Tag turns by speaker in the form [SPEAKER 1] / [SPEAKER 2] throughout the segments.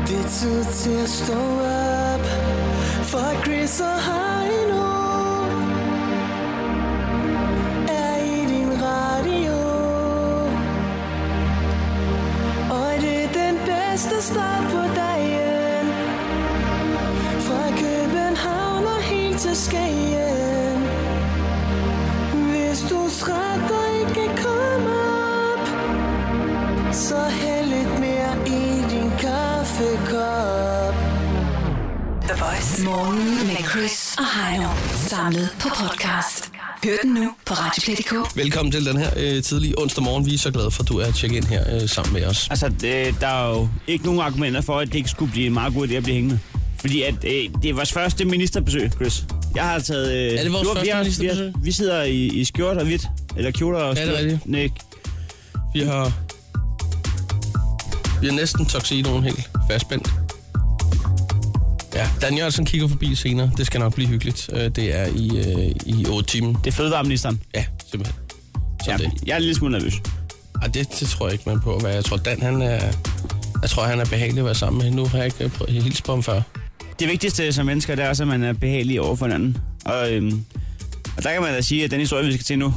[SPEAKER 1] altid til at stå op For Chris og Heino Er i din radio Og det er den bedste start på dagen Fra København og helt til Skagen Hvis du er træt og ikke kan komme op Så hæld lidt mere i din kaffekop
[SPEAKER 2] The Voice. Morgen med Chris og Heino. Samlet på podcast. Hør den nu på Radioplay.dk.
[SPEAKER 3] Velkommen til den her øh, tidlige onsdag morgen. Vi er så glade for, at du er tjekket ind her øh, sammen med os.
[SPEAKER 4] Altså, det, der er jo ikke nogen argumenter for, at det ikke skulle blive en meget god idé at blive hængende. Fordi at, øh, det er vores første ministerbesøg, Chris. Jeg har taget... Øh,
[SPEAKER 3] det vores
[SPEAKER 4] nu vi
[SPEAKER 3] første
[SPEAKER 4] har- Vi,
[SPEAKER 3] ministerbesøg?
[SPEAKER 4] har- vi sidder i, i skjort og hvidt. Eller kjoler og
[SPEAKER 3] Ja, det er
[SPEAKER 4] skjort.
[SPEAKER 3] rigtigt.
[SPEAKER 4] Næ,
[SPEAKER 3] Vi har, vi har næsten tuxedoen helt fastspændt. Ja, Dan Jørgensen kigger forbi senere. Det skal nok blive hyggeligt. Øh, Det er i, øh, i 8 timer.
[SPEAKER 4] det er fødevareministeren.
[SPEAKER 3] Ja, simpelthen.
[SPEAKER 4] Ja,
[SPEAKER 3] Sådan ja. det.
[SPEAKER 4] jeg er en lille smule nervøs.
[SPEAKER 3] Ej, det, det tror jeg ikke, man på. Hvad jeg tror, Dan han er... Jeg tror, han er behagelig at være sammen med. Nu har jeg ikke øh, prøvet- hilst på ham før.
[SPEAKER 4] Det vigtigste som mennesker, det er også, at man er behagelig over for hinanden. Og, øhm, og der kan man da sige, at den historie, vi skal til nu...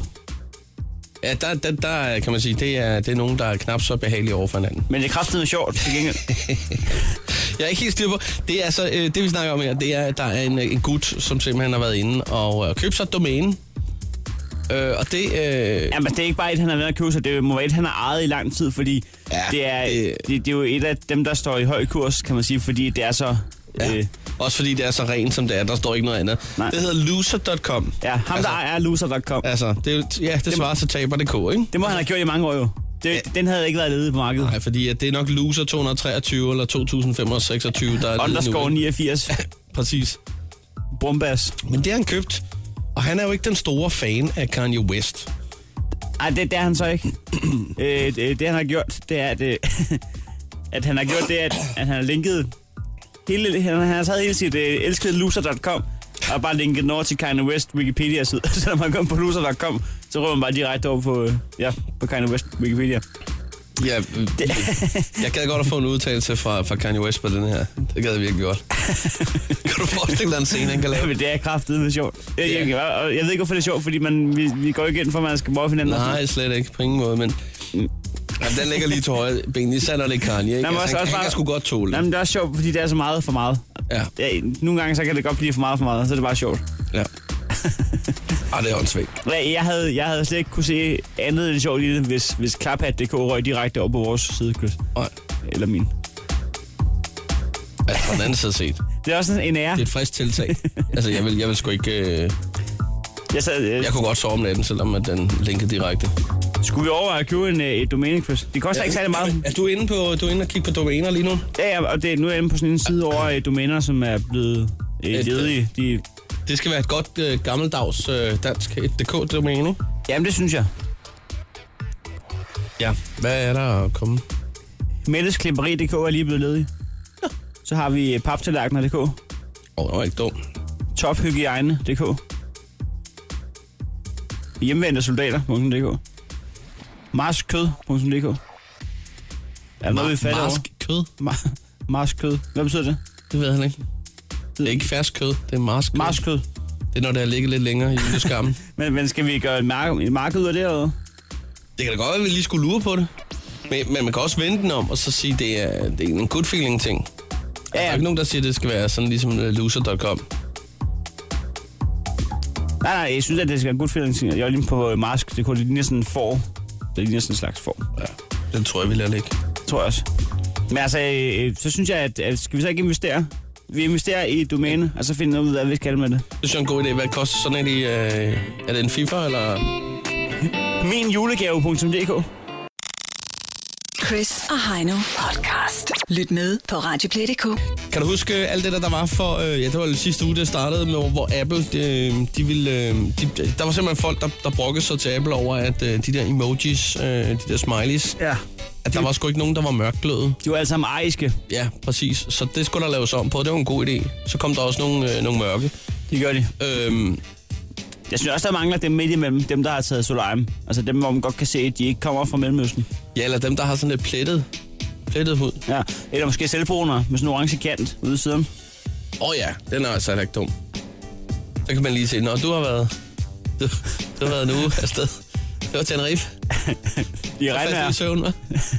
[SPEAKER 3] Ja, der, der, der kan man sige, det er, det er nogen, der er knap så behagelige over for hinanden.
[SPEAKER 4] Men det er kraftigt sjovt til gengæld.
[SPEAKER 3] Jeg er ikke helt styr på. Det er så, øh, det vi snakker om her, det er, at der er en, øh, en gut, som simpelthen har været inde og øh, købt sig et domæne. Øh, og det... Øh,
[SPEAKER 4] Jamen, det er ikke bare et, han har været at købe sig. Det må være et, han har ejet i lang tid, fordi
[SPEAKER 3] Ja,
[SPEAKER 4] ja, det, er,
[SPEAKER 3] det-
[SPEAKER 4] det... Det, det er jo et af dem, der står i høj kurs, kan man sige, fordi det er så... Ja, øh,
[SPEAKER 3] også fordi det er så rent, som det er. Der står ikke noget andet.
[SPEAKER 4] Nej.
[SPEAKER 3] Det hedder loser.com.
[SPEAKER 4] ja ham,
[SPEAKER 3] altså,
[SPEAKER 4] altså... der er loser.com. Ja.
[SPEAKER 3] Altså, det, er jo- ja, det svarer til taber.dk, ikke?
[SPEAKER 4] Det må han have gjort i mange år jo. Det,
[SPEAKER 3] Ja.
[SPEAKER 4] ja. Den havde ikke været ledig på markedet.
[SPEAKER 3] Nej, fordi at det er nok loser 223 eller 2526, der er ledige nu,
[SPEAKER 4] Underscore
[SPEAKER 3] ikke?
[SPEAKER 4] 89.
[SPEAKER 3] Præcis.
[SPEAKER 4] Brumbas.
[SPEAKER 3] Men det har han købt, og han er jo ikke den store fan af Kanye West.
[SPEAKER 4] Ej, det, det er han så ikke. øh, det, det, han har gjort, det er, at, øh, at han har gjort det, at, at han har linket... Hele, han, han har taget hele sit øh, elskede loser.com og bare linket den over til Kanye West Wikipedia-side. så når man kommer på loser.com, så rører man bare direkte over på, øh, ja, på Kanye West Wikipedia.
[SPEAKER 3] Ja, øh, jeg gad godt at få en udtalelse fra, fra Kanye West på den her. Det gad jeg virkelig godt. kan du forestille dig en scene, han kan lave?
[SPEAKER 4] Men det er kraftedeme sjovt. Jeg,
[SPEAKER 3] Ja.
[SPEAKER 4] jeg, jeg, jeg ved ikke, hvorfor det er sjovt, fordi man, vi, vi går ikke ind for, at man skal mobbe hinanden. og sådan
[SPEAKER 3] Nej, slet ikke. På ingen måde, men... Jamen, den ligger lige til højre ben. Især når det er Kanye, ikke?
[SPEAKER 4] Nej, men
[SPEAKER 3] altså,
[SPEAKER 4] også-
[SPEAKER 3] han,
[SPEAKER 4] også
[SPEAKER 3] han
[SPEAKER 4] bare-
[SPEAKER 3] kan sgu godt tåle.
[SPEAKER 4] Nej,
[SPEAKER 3] det.
[SPEAKER 4] men det er også sjovt, fordi det er så meget for meget.
[SPEAKER 3] Ja.
[SPEAKER 4] ja. Nogle gange så kan det godt blive for meget for meget, så er det bare sjovt.
[SPEAKER 3] Ja. Ah, det er åndssvagt.
[SPEAKER 4] Ja, Jeg havde, jeg havde slet ikke kunne se andet end sjovt i det, hvis, hvis Klaphat.dk røg direkte op på vores side, Chris.
[SPEAKER 3] Og,
[SPEAKER 4] Eller min.
[SPEAKER 3] altså, fra den anden side set.
[SPEAKER 4] Det er også sådan en ære.
[SPEAKER 3] Det er et frisk tiltag. Altså, jeg vil, jeg vil sgu ikke... Øh...
[SPEAKER 4] Jeg sad, øh,
[SPEAKER 3] Jeg kunne godt sove om natten, selvom at den linkede direkte.
[SPEAKER 4] Skulle vi overveje at købe en, øh, et domæne, Chris? Det koster ja, ikke særlig meget.
[SPEAKER 3] Er du inde, på, du er inde og kigge på domæner lige nu?
[SPEAKER 4] Ja, ja, og det, nu er jeg inde på sådan en side over øh, domæner, som er blevet øh,
[SPEAKER 3] Et,
[SPEAKER 4] ledige. De,
[SPEAKER 3] Det skal være et godt øh, gammeldags øh, dansk DK-domæne, ikke?
[SPEAKER 4] jamen, det synes jeg.
[SPEAKER 3] Ja. Hvad er der at komme?
[SPEAKER 4] Mettes Klipperi.dk er lige blevet ledig. Så har vi øh, paptallerkener.dk,
[SPEAKER 3] Åh, oh, det var ikke dum.
[SPEAKER 4] tophygiejne.dk, hjemvendte soldater.dk, marskød.dk. Er der noget, vi fatter over?
[SPEAKER 3] Marsk kød?
[SPEAKER 4] Ma- marskød. Hvad betyder det?
[SPEAKER 3] Det ved han ikke. Det er ikke fersk kød, det er marsk.
[SPEAKER 4] Marskød.
[SPEAKER 3] Det er, når det har ligget lidt længere i juleskammen.
[SPEAKER 4] Men, men skal vi gøre et, mark- et marked ud af det, eller hvad?
[SPEAKER 3] det kan da godt være, at vi lige skulle lure på det. Men, men man kan også vende den om og så sige, at det er, det er en good feeling ting. Ja. Der er
[SPEAKER 4] ja.
[SPEAKER 3] ikke nogen, der siger, at det skal være sådan ligesom øh, loser.com.
[SPEAKER 4] Nej, nej, jeg synes, at det skal være en god feeling. Jeg er lige på øh, marsk. Det kunne ligner sådan en får. Det ligner sådan en slags får,
[SPEAKER 3] Ja, den tror jeg, vi lader ligge.
[SPEAKER 4] tror jeg også. Men altså, øh, så synes jeg, at, at skal vi så ikke investere? Vi investerer i et domæne, og så finder vi ud af, hvad vi skal med det.
[SPEAKER 3] Det synes jeg er en god idé. Hvad koster sådan en i... Øh, er det en FIFA, eller...
[SPEAKER 4] Minjulegave.dk
[SPEAKER 2] Chris og Heino podcast. Lyt med på Radioplay.dk.
[SPEAKER 3] Kan du huske øh, alt det, der, der var for... Øh, ja, det var jo sidste uge, det startede med, hvor Apple... Øh, de ville, øh, de, der var simpelthen folk, der, der brokkede sig til Apple over, at øh, de der emojis, øh, de der smileys,
[SPEAKER 4] Ja.
[SPEAKER 3] at der var sgu ikke nogen, der var mørkglødet.
[SPEAKER 4] De var alle sammen ariske.
[SPEAKER 3] Ja, præcis. Så det skulle der laves om på. Det var en god idé. Så kom der også nogle, øh, nogle mørke.
[SPEAKER 4] Det gør de.
[SPEAKER 3] Øhm,
[SPEAKER 4] Jeg synes også, der mangler dem midt imellem. Dem, der har taget Solheim. Altså dem, hvor man godt kan se, at de ikke kommer fra Mellemøsten.
[SPEAKER 3] ja, eller dem, der har sådan lidt plettet. Plettet hud.
[SPEAKER 4] Ja. Eller måske selvbruner med sådan en orange kant ude i siden.
[SPEAKER 3] Åh oh, ja, den er altså heller ikke dum. Så kan man lige se, når du har været, du, du har været en uge afsted. Det var Tenerife.
[SPEAKER 4] I
[SPEAKER 3] Jeg
[SPEAKER 4] regnvejr.
[SPEAKER 3] faldt i søvn, hva'?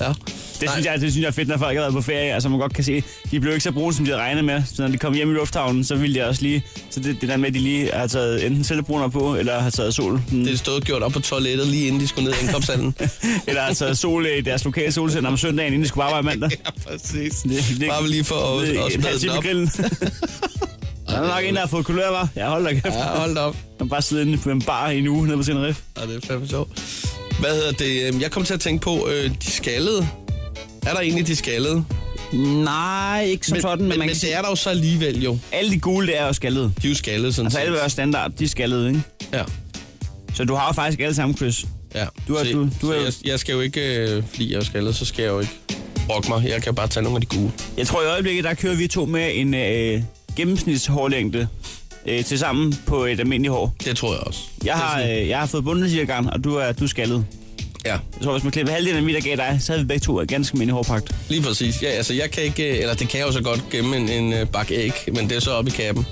[SPEAKER 3] Ja.
[SPEAKER 4] Det
[SPEAKER 3] Nej.
[SPEAKER 4] synes, jeg, det synes jeg er fedt, når folk har været på ferie, altså man godt kan se, de blev ikke så brune, som de havde regnet med. Så når de kom hjem i lufthavnen, så ville de også lige, så det, det der med, at de lige har taget enten selvbruner på, eller har taget sol, mm,
[SPEAKER 3] Det stod gjort op på toilettet, lige inden de skulle ned i indkomsthallen.
[SPEAKER 4] eller har taget sol i deres lokale solcenter om søndagen, inden de skulle arbejde mandag.
[SPEAKER 3] ja, præcis.
[SPEAKER 4] Det,
[SPEAKER 3] Bare lige for at-
[SPEAKER 4] det-
[SPEAKER 3] at
[SPEAKER 4] en
[SPEAKER 3] smide den
[SPEAKER 4] halv time i
[SPEAKER 3] op.
[SPEAKER 4] grillen. Der er nok en, der har fået kulør, var. Ja, hold da kæft.
[SPEAKER 3] Ja, hold da op.
[SPEAKER 4] Man bare sidder inde på en bar i en uge nede på Tenerife.
[SPEAKER 3] Ja, det er fandme sjovt. Hvad hedder det? øhm, Jeg kom til at tænke på øh, de skaldede. Er der egentlig de skaldede?
[SPEAKER 4] Nej, ikke som sådan, men,
[SPEAKER 3] men,
[SPEAKER 4] man
[SPEAKER 3] men
[SPEAKER 4] kan sige,
[SPEAKER 3] det er der jo så alligevel jo.
[SPEAKER 4] alle de gule, der er jo skaldede.
[SPEAKER 3] De er jo skaldede sådan
[SPEAKER 4] Altså alle
[SPEAKER 3] set.
[SPEAKER 4] er standard, de er skaldede, ikke?
[SPEAKER 3] Ja.
[SPEAKER 4] Så du har jo faktisk alle sammen, Chris.
[SPEAKER 3] Ja.
[SPEAKER 4] Du er-
[SPEAKER 3] så,
[SPEAKER 4] du- du
[SPEAKER 3] så
[SPEAKER 4] er-
[SPEAKER 3] jeg, jeg skal jo ikke, øh, fordi jeg er skaldet, så skal jeg jo ikke brokke mig. Jeg kan bare tage nogle af de gule.
[SPEAKER 4] Jeg tror i øjeblikket, der kører vi to med en øh, gennemsnitshårlængde øh, til sammen på et almindeligt hår.
[SPEAKER 3] Det tror jeg også.
[SPEAKER 4] Jeg har, øh, jeg har fået bundet cirkaren, og du er, du er skaldet.
[SPEAKER 3] Ja,
[SPEAKER 4] Jeg tror, hvis man klipper halvdelen af mit, der gav dig, så havde vi begge to en ganske mindre hårpragt.
[SPEAKER 3] lige præcis. Ja, altså jeg kan ikke, øh, eller det kan jeg jo så godt gemme en, en øh, bakke æg, men det er så oppe i kappen.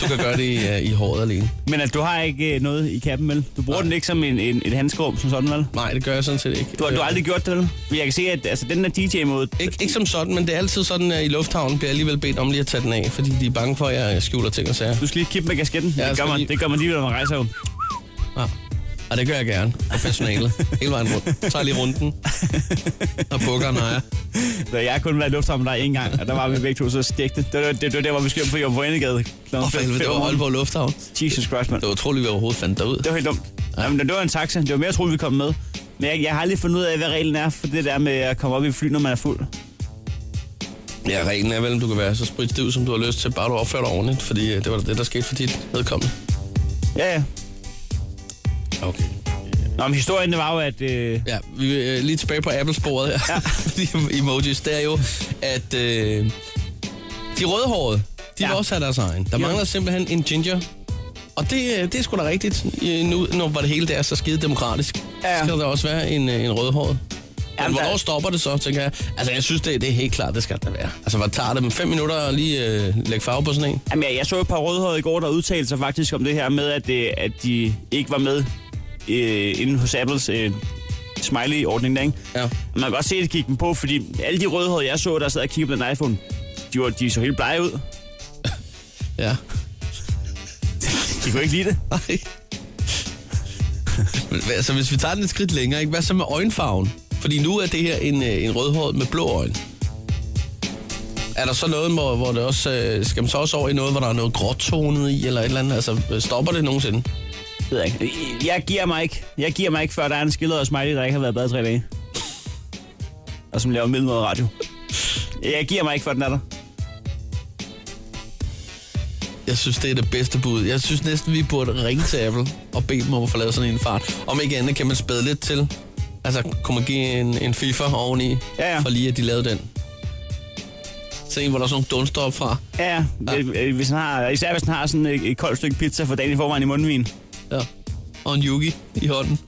[SPEAKER 3] Du kan gøre det i, øh, i håret alene.
[SPEAKER 4] Men at du har ikke øh, noget i kappen, vel? Du bruger
[SPEAKER 3] Nej.
[SPEAKER 4] den ikke som en, en, et handskerum, som sådan, vel?
[SPEAKER 3] Nej, det gør jeg sådan set ikke. Øh,
[SPEAKER 4] Du har, du har aldrig gjort det, vel? Men Jeg kan se, at altså, den der DJ-måde...
[SPEAKER 3] Ikke, ikke som sådan, men det er altid sådan, at i lufthavnen bliver jeg alligevel bedt om lige at tage den af, fordi de er bange for, at jeg øh, skjuler ting og sager.
[SPEAKER 4] Du skal lige kippe med kasketten.
[SPEAKER 3] Ja,
[SPEAKER 4] Ja, det, gør
[SPEAKER 3] skal
[SPEAKER 4] man,
[SPEAKER 3] lige-
[SPEAKER 4] det gør man lige, når man rejser jo.
[SPEAKER 3] Ja. Og det gør jeg gerne. Professionale. Hele vejen rundt. Så tager jeg lige runden. Og bukker når jeg.
[SPEAKER 4] Så Jeg har kun været i lufthavnen der en gang, og der var vi begge to så stegte. Det var, det, det var der, hvor vi skulle på Jomfru Endegade.
[SPEAKER 3] Åh, for helvede, det var Aalborg Lufthavn.
[SPEAKER 4] Jesus Christ, mand.
[SPEAKER 3] Det var utroligt, vi overhovedet fandt derud.
[SPEAKER 4] Det var helt dumt. Jamen, det var en taxa. Det var mere troligt, vi kom med. Men jeg, jeg har aldrig fundet ud af, hvad reglen er for det der med at komme op i et fly, når man er fuld.
[SPEAKER 3] Ja, reglen er vel, om du kan være så spritstiv, som du har lyst til, bare du opfører dig ordentligt, fordi øh, det var da det, der skete for dit vedkommende.
[SPEAKER 4] Ja, ja.
[SPEAKER 3] Okay.
[SPEAKER 4] Nå, men historien det var jo, at... Øh,
[SPEAKER 3] Ja, vi er øh, lige tilbage på Apple-sporet her. Ja. de emojis, det er jo, at øh, de rødhårede, de ja.
[SPEAKER 4] Ja.
[SPEAKER 3] vil også have deres egen. Der
[SPEAKER 4] Ja.
[SPEAKER 3] mangler simpelthen en ginger. Og det, øh, det er sgu da rigtigt, øh, nu, når var det hele der er så skide demokratisk. Ja.
[SPEAKER 4] Ja.
[SPEAKER 3] Skal der også være en, øh, en rødhåret? Men
[SPEAKER 4] Jamen,
[SPEAKER 3] hvornår
[SPEAKER 4] der-
[SPEAKER 3] stopper det så, tænker jeg? Altså, jeg synes, det, det er helt klart, det skal der være. Altså, hvad tager det med fem minutter at lige øh, lægge farve på sådan en?
[SPEAKER 4] jamen, jeg, jeg så et par rødhårede i går, der udtalte sig faktisk om det her med, at, øh, at de ikke var med øh, inde hos Apples øh, smiley-ordning der, ikke?
[SPEAKER 3] Ja.
[SPEAKER 4] Man kan godt se, at det gik dem på, fordi alle de rødhårede, jeg så, der sad og kiggede på den iPhone, de, var, de så helt blege ud.
[SPEAKER 3] Ja.
[SPEAKER 4] De kunne ikke lide det.
[SPEAKER 3] Nej. Men hvad- altså, hvis vi tager den et skridt længere, ikke? hvad så med øjenfarven? Fordi nu er det her en, øh, en rødhåret med blå øjne. Er der så noget, hvor, hvor det også, øh, skal man så også over i noget, hvor der er noget gråtonet i, eller et eller andet? Altså, øh, stopper det nogensinde?
[SPEAKER 4] Det ved jeg ikke. Jeg giver mig ikke. Jeg giver mig ikke, før der er en skildret og smiley, der ikke har været i bad i tre dage. Og som laver middelmåde radio. Jeg giver mig ikke, før den er der.
[SPEAKER 3] Jeg synes, det er det bedste bud. Jeg synes næsten, vi burde ringe til Apple og bede dem om at få lavet sådan en fart. Om ikke andet kan man spæde lidt til. Altså, kunne man give en, en FIFA oveni,
[SPEAKER 4] Ja, ja.
[SPEAKER 3] for lige at de lavede den. Se, hvor der er sådan nogle dunster op fra.
[SPEAKER 4] Ja, ja. Øh, øh, Hvis han har, især hvis han har sådan et, et koldt stykke pizza for dagen i forvejen i mundvin.
[SPEAKER 3] Ja. Og en yugi i hånden.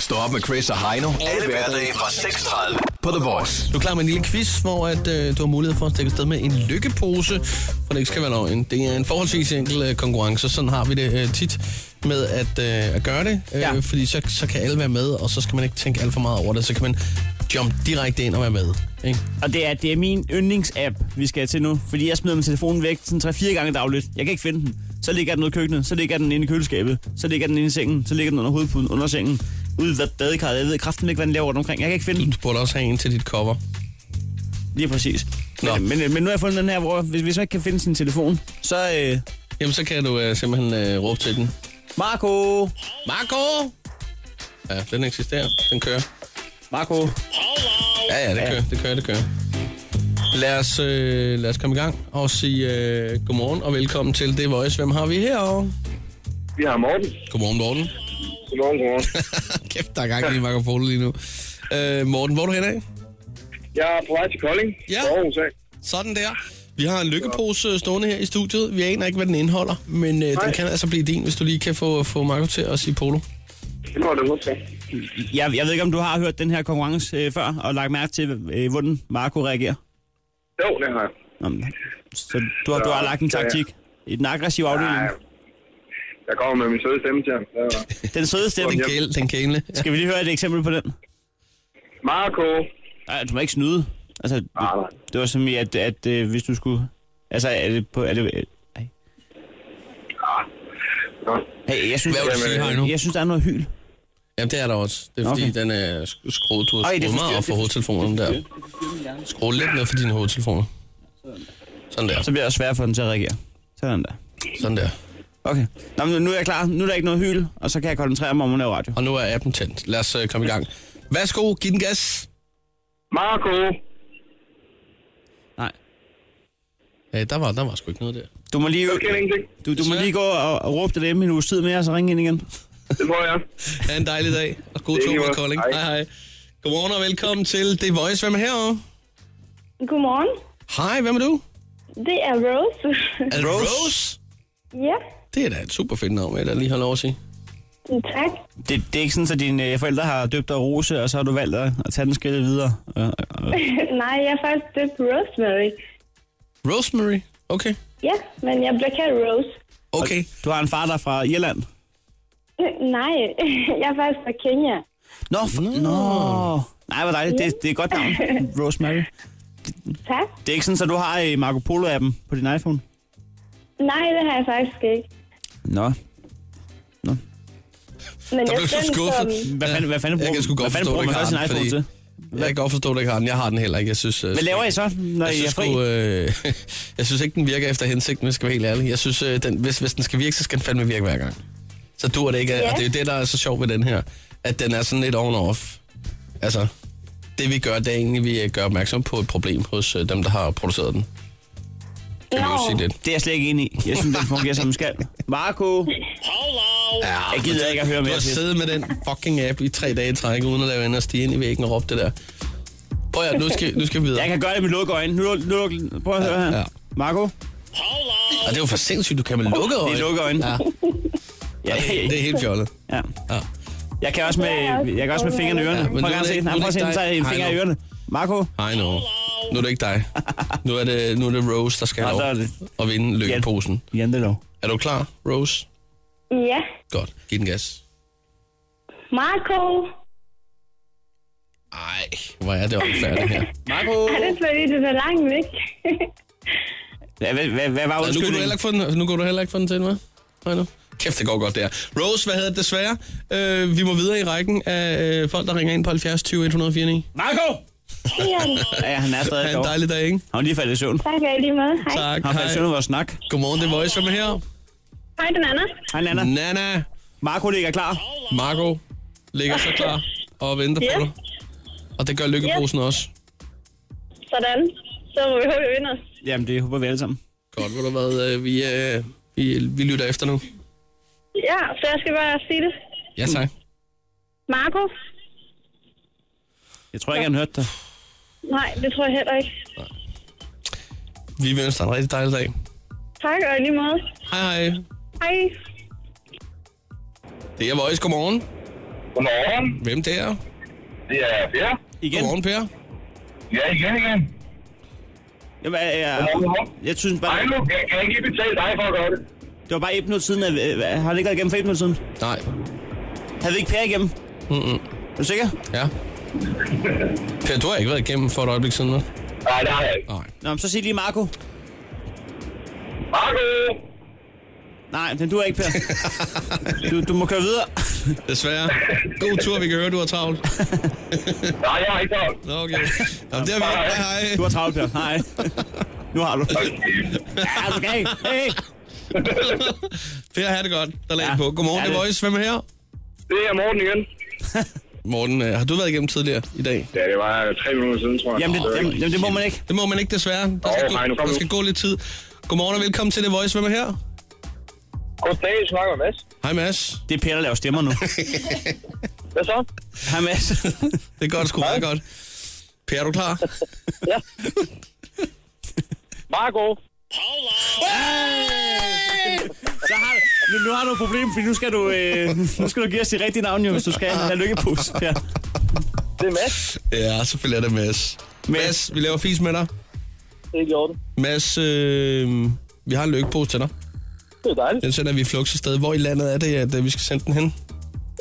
[SPEAKER 5] Stå op med Chris og Heino. Alle hverdage fra 6.30 på The Voice.
[SPEAKER 3] Du er klar med en lille quiz, hvor at, øh, du har mulighed for at stikke afsted med en lykkepose, for det ikke skal være løgn. Det er en forholdsvis enkel øh, konkurrence, sådan har vi det øh, tit med at, øh, at gøre det, øh, ja.
[SPEAKER 4] Ja.
[SPEAKER 3] fordi så, så kan alle være med, og så skal man ikke tænke alt for meget over det, så kan man jump direkte ind og være med. Ikke?
[SPEAKER 4] Og det er, det er min yndlingsapp, vi skal til nu. Fordi jeg smider min telefon væk sådan 3-4 gange dagligt. Jeg kan ikke finde den. Så ligger den ude i køkkenet, så ligger den inde i køleskabet, så ligger den inde i sengen, så ligligger den under hovedpuden, under sengen, ude ved badekarret. Jeg ved kraften ikke, hvad den laver rundt omkring. Jeg kan ikke finde den.
[SPEAKER 3] Du burde også have en til dit cover.
[SPEAKER 4] Lige præcis.
[SPEAKER 3] Nå.
[SPEAKER 4] Men, men, men nu har jeg fundet den her, hvor hvis, hvis man ikke kan finde sin telefon, så... Øh,
[SPEAKER 3] Jamen, så kan du øh, simpelthen øh, råbe til den.
[SPEAKER 4] Marco!
[SPEAKER 3] Marco! Ja, den eksisterer. Den kører.
[SPEAKER 4] Marco!
[SPEAKER 3] Ja, ja, det
[SPEAKER 4] Ja.
[SPEAKER 3] kører, det kører, det kører. Lad os, øh, lad os komme i gang og sige øh, godmorgen og velkommen til The Voice. Hvem har vi herovre?
[SPEAKER 6] Vi har Morten.
[SPEAKER 3] Godmorgen, Morten.
[SPEAKER 6] Godmorgen, godmorgen.
[SPEAKER 3] Kæft, der er gang i mikrofonen lige nu. Øh, Morten, hvor er du hen af?
[SPEAKER 6] Jeg er på vej til Kolding.
[SPEAKER 3] Ja.
[SPEAKER 6] fra Aarhus af.
[SPEAKER 3] Sådan der. Vi har en lykkepose stående her i studiet. Vi aner ikke, hvad den indeholder, men øh, den
[SPEAKER 6] Nej.
[SPEAKER 3] kan altså blive din, hvis du lige kan få, få Marco til at sige polo.
[SPEAKER 6] Det må du huske.
[SPEAKER 4] Jeg, jeg ved ikke, om du har hørt den her konkurrence øh, før, og lagt mærke til, øh, hvordan Marco reagerer.
[SPEAKER 6] Jo, det har jeg.
[SPEAKER 4] Nå, men, så du har, du har lagt en
[SPEAKER 6] Ja, ja.
[SPEAKER 4] taktik i den aggressive afdeling.
[SPEAKER 6] Nej. Jeg kommer med min søde stemme til ham. Så-
[SPEAKER 4] Den søde stemning.
[SPEAKER 3] Den kæle, den kæle.
[SPEAKER 4] Skal vi lige høre et eksempel på den?
[SPEAKER 6] Marco. Ah,
[SPEAKER 4] Ej, du må ikke snyde. Altså, det,
[SPEAKER 6] Nej, nej.
[SPEAKER 4] det var som i, at, at øh, hvis du skulle... Altså, er det på... Er det, øh, ej.
[SPEAKER 6] Nå.
[SPEAKER 4] hey, jeg synes,
[SPEAKER 3] Hvad vil du sige,
[SPEAKER 4] jeg,
[SPEAKER 3] Heino?
[SPEAKER 4] jeg synes, der er noget hyl.
[SPEAKER 3] Jamen, det er der også. Det er fordi,
[SPEAKER 4] Okay.
[SPEAKER 3] den er sk- skruet. Du har
[SPEAKER 4] Ej, det
[SPEAKER 3] skruet meget
[SPEAKER 4] forstyrrer-
[SPEAKER 3] op for
[SPEAKER 4] det
[SPEAKER 3] hovedtelefonerne der. Skru lidt ned for dine hovedtelefoner. Sådan der.
[SPEAKER 4] Så bliver det sværere for den til at reagere. Sådan der.
[SPEAKER 3] Sådan der.
[SPEAKER 4] Okay. Nå, men nu er jeg klar. Nu er der ikke noget hyl, og så kan jeg koncentrere mig om at lave radio.
[SPEAKER 3] Og nu er appen tændt. Lad os øh, komme i gang. Værsgo, giv den gas.
[SPEAKER 6] Marco.
[SPEAKER 4] Nej.
[SPEAKER 3] Ja, der var, der var sgu ikke noget der.
[SPEAKER 4] Du må lige,
[SPEAKER 6] Jeg kender ingenting.
[SPEAKER 4] du, du må lige gå og, og råbe det hjemme i en uges tid mere, og så ringe ind igen.
[SPEAKER 6] Det må jeg.
[SPEAKER 3] Ha' en dejlig dag, og god
[SPEAKER 6] Det er
[SPEAKER 3] tur
[SPEAKER 6] lige
[SPEAKER 3] med
[SPEAKER 6] meget.
[SPEAKER 3] Kolding.
[SPEAKER 6] Hej.
[SPEAKER 3] Hej, hej. Godmorgen og velkommen til The Voice. Hvem er herovre?
[SPEAKER 7] Godmorgen.
[SPEAKER 3] Hej, hvem er du?
[SPEAKER 7] Det er Rose.
[SPEAKER 3] Er det Rose?
[SPEAKER 7] ja,
[SPEAKER 3] Det er da et super fedt navn, jeg da lige har lov at sige.
[SPEAKER 7] tak.
[SPEAKER 4] Det, det er ikke sådan, at dine øh, forældre har døbt dig Rose, og så har du valgt at, at tage den skridt videre. Øh, øh,
[SPEAKER 7] Nej, jeg er faktisk døbt Rosemary.
[SPEAKER 3] Rosemary? Okay.
[SPEAKER 7] Ja, men jeg bliver kaldt Rose.
[SPEAKER 3] Okay.
[SPEAKER 4] Du har en far, der er fra Irland.
[SPEAKER 7] Nej, jeg er faktisk fra Kenya.
[SPEAKER 4] Nå, for,
[SPEAKER 3] Mm.
[SPEAKER 4] nå. Nej, hvor dejligt. Det, det er et godt navn, Rosemary.
[SPEAKER 7] Tak.
[SPEAKER 4] Det er ikke sådan, at du har øh, Marco Polo-appen på din iPhone?
[SPEAKER 7] Nej, det har jeg faktisk ikke.
[SPEAKER 4] Nå.
[SPEAKER 7] Men
[SPEAKER 3] Der
[SPEAKER 7] jeg
[SPEAKER 3] blev du
[SPEAKER 7] stemte
[SPEAKER 3] skuffet.
[SPEAKER 7] som-
[SPEAKER 4] Hvad
[SPEAKER 3] Ja,
[SPEAKER 4] fanden, hvad fanden
[SPEAKER 3] jeg
[SPEAKER 4] bruger,
[SPEAKER 3] kan sgu godt
[SPEAKER 4] hvad fanden
[SPEAKER 3] forstå,
[SPEAKER 4] bruger man
[SPEAKER 3] det,
[SPEAKER 4] så sin
[SPEAKER 3] Karen, fordi-
[SPEAKER 4] iPhone til?
[SPEAKER 3] Jeg kan godt forstå, at du ikke har den. Jeg har den heller ikke. Jeg synes, øh,
[SPEAKER 4] Hvad laver I så, når
[SPEAKER 3] Jeg
[SPEAKER 4] I er
[SPEAKER 3] synes,
[SPEAKER 4] fri?
[SPEAKER 3] sgu, øh, jeg synes ikke, den virker efter hensigten, hvis jeg skal være helt ærlig. Jeg synes, øh, den, hvis, hvis den skal virke, så skal den fandme virke hver gang. Så dur det ikke.
[SPEAKER 7] Ja.
[SPEAKER 3] Og det er jo det, der er så sjovt ved den her. At den er sådan lidt on and off. Altså, det vi gør, det er egentlig, vi øh, gør opmærksom på et problem hos øh, dem, der har produceret den. Kan vi jo
[SPEAKER 7] Nå.
[SPEAKER 3] sige det.
[SPEAKER 4] Det er jeg slet ikke enig i. Jeg synes, den fungerer som den skal. Marco,
[SPEAKER 3] Ja,
[SPEAKER 4] jeg gider ikke at høre
[SPEAKER 3] Du
[SPEAKER 4] mere
[SPEAKER 3] har
[SPEAKER 4] til.
[SPEAKER 3] siddet med den fucking app i tre dage i træk, uden at lade være inde og stige ind i væggen og råbe det der. Prøv at, høre, nu skal, nu skal vi videre.
[SPEAKER 4] Jeg kan gøre det med lukkede øjne. Nu, luk- nu, luk- prøv at høre her.
[SPEAKER 3] ja.
[SPEAKER 4] Marco,
[SPEAKER 3] Og det er jo for sindssygt, du kan med lukkede
[SPEAKER 4] det
[SPEAKER 3] øjne.
[SPEAKER 4] er lukkede øjne.
[SPEAKER 3] Ja,
[SPEAKER 4] Ja,
[SPEAKER 3] det er helt fjollet.
[SPEAKER 4] ja.
[SPEAKER 3] Ja.
[SPEAKER 4] Jeg kan også med, jeg kan også med fingrene i ørerne.
[SPEAKER 3] Ja, men
[SPEAKER 4] Prøv
[SPEAKER 3] nu er
[SPEAKER 4] at
[SPEAKER 3] det
[SPEAKER 4] se.
[SPEAKER 3] ikke-
[SPEAKER 4] Nej,
[SPEAKER 3] nu er
[SPEAKER 4] prøv
[SPEAKER 3] det
[SPEAKER 4] at se, den
[SPEAKER 3] ikke
[SPEAKER 4] tager
[SPEAKER 3] dig.
[SPEAKER 4] en finger i
[SPEAKER 3] Hej nu.
[SPEAKER 4] ørerne. Marco,
[SPEAKER 3] Hej nu. Nu er det ikke dig. Nu er det, nu er det Rose, der skal
[SPEAKER 4] Nå,
[SPEAKER 3] have
[SPEAKER 4] der er
[SPEAKER 3] lov
[SPEAKER 4] det.
[SPEAKER 3] at vinde lykkeposen.
[SPEAKER 4] Jantelov.
[SPEAKER 3] Er du klar, Rose?
[SPEAKER 7] Ja,
[SPEAKER 3] Godt. Giv den gas.
[SPEAKER 7] Marco.
[SPEAKER 3] Ej, hvor er det omfærdigt her.
[SPEAKER 4] Marco!
[SPEAKER 7] Er det fordi, du er så langt væk?
[SPEAKER 4] Ja, hvad, hvad, hvad var
[SPEAKER 3] Nå, nu, kunne du heller
[SPEAKER 4] undskyldningen?
[SPEAKER 3] ikke få den, nu kunne du heller ikke få den til, hvad? Nej, nu. Kæft, det går godt der. Rose, hvad hedder det desværre? Øh, vi må videre i rækken af øh, folk, der ringer ind på 70 20 149.
[SPEAKER 4] Marco!
[SPEAKER 7] Ian,
[SPEAKER 4] Ja, han er stadig
[SPEAKER 3] Ha' en
[SPEAKER 4] derovre.
[SPEAKER 3] dejlig dag, ikke?
[SPEAKER 4] Han er lige faldet i søvn.
[SPEAKER 7] tak og i lige måde. Hej.
[SPEAKER 3] Tak.
[SPEAKER 4] Han faldt i
[SPEAKER 3] Hej.
[SPEAKER 4] søvn over vores snak.
[SPEAKER 3] Godmorgen, det er Voice. Hvem er her?
[SPEAKER 7] Hej, den anden.
[SPEAKER 4] Hej, Nana.
[SPEAKER 3] Nana.
[SPEAKER 4] Marco ligger Mm. klar.
[SPEAKER 3] Marco ligger så klar og venter
[SPEAKER 7] Ja.
[SPEAKER 3] på dig. Og det gør lykkeposen også.
[SPEAKER 7] Sådan. Så må vi håbe, vi vinder.
[SPEAKER 4] Jamen, det håber vi alle sammen.
[SPEAKER 3] Godt, hvor du hvad, øh, vi, øh, vi, vi lytter efter nu.
[SPEAKER 7] Ja, så jeg skal bare sige det.
[SPEAKER 3] Ja, tak.
[SPEAKER 7] Marco?
[SPEAKER 4] Jeg tror ikke, han hørte dig.
[SPEAKER 7] Nej, det tror jeg heller ikke.
[SPEAKER 3] Vi vil ønske dig en rigtig dejlig dag.
[SPEAKER 7] Tak og i lige måde.
[SPEAKER 3] Hej, hej.
[SPEAKER 7] Hej.
[SPEAKER 3] Det er Voice. Godmorgen.
[SPEAKER 6] Godmorgen.
[SPEAKER 3] Hvem det er?
[SPEAKER 6] Det er Per.
[SPEAKER 4] Igen?
[SPEAKER 3] Godmorgen, Per.
[SPEAKER 6] Ja, igen, igen.
[SPEAKER 4] Jamen, jeg, jeg,
[SPEAKER 6] Godmorgen.
[SPEAKER 4] jeg synes bare,
[SPEAKER 6] Ej, nu kan kan jeg ikke betale dig for at gøre det.
[SPEAKER 4] det var bare et minut siden. At, øh, har det ikke været igennem for et minut siden?
[SPEAKER 3] Nej.
[SPEAKER 4] Havde vi ikke Per igennem?
[SPEAKER 3] Mm-mm.
[SPEAKER 4] Er du sikker?
[SPEAKER 3] Ja. Per, du har ikke været igennem for et øjeblik siden, vel?
[SPEAKER 6] Nej, det har jeg ikke.
[SPEAKER 3] Nej.
[SPEAKER 4] Nå, men så sig lige Marco.
[SPEAKER 6] Marco.
[SPEAKER 4] Nej, den du er ikke Per. Du, du må køre videre.
[SPEAKER 3] Desværre. God tur, vi kan høre, du har travlt.
[SPEAKER 6] Nej, jeg har ikke travlt.
[SPEAKER 3] Nå, okay. Jamen, det er vi. Hej, hej.
[SPEAKER 4] Du har travlt, Per. Nej. Nu har du. Ja, du skal ikke. Hey, hey.
[SPEAKER 3] Per, have det godt. Der lagde
[SPEAKER 4] Ja.
[SPEAKER 3] ja. på. Godmorgen,
[SPEAKER 4] Ja,
[SPEAKER 3] det er
[SPEAKER 4] det-
[SPEAKER 3] Voice. Hvem er her?
[SPEAKER 6] Det er Morten igen.
[SPEAKER 3] Morten, øh, har du været igennem tidligere i dag?
[SPEAKER 6] Ja, det var tre minutter siden, tror jeg.
[SPEAKER 4] Jamen, det, jamen, jamen, det må man ikke.
[SPEAKER 3] Det må man ikke desværre. Der
[SPEAKER 6] Åh,
[SPEAKER 3] skal,
[SPEAKER 6] nej, nu
[SPEAKER 3] gå,
[SPEAKER 6] kom
[SPEAKER 3] der
[SPEAKER 6] nu.
[SPEAKER 3] skal gå lidt tid. Godmorgen og velkommen til The Voice. Hvem er her?
[SPEAKER 6] Goddag, jeg snakker med Mads.
[SPEAKER 3] Hej Mads.
[SPEAKER 4] Det er Per, der laver stemmer nu.
[SPEAKER 6] Hvad så?
[SPEAKER 4] Hej, Mads.
[SPEAKER 3] Det er godt, sgu meget godt. Per, er du klar?
[SPEAKER 6] Marco.
[SPEAKER 4] Så har, nu, nu har du et problem, fordi nu skal du, øh, nu skal du give os dit rigtige navn, jo, hvis du skal have lykkepus. Ja.
[SPEAKER 6] Det er Mads.
[SPEAKER 3] Ja, selvfølgelig er det Mads. Mads, vi laver fis med dig.
[SPEAKER 6] Det er Jordan.
[SPEAKER 3] Mads, øh, vi har en lykkepose til dig.
[SPEAKER 6] Det er dejligt.
[SPEAKER 3] Den sender vi i Flux afsted. Hvor i landet er det, at øh, vi skal sende den hen?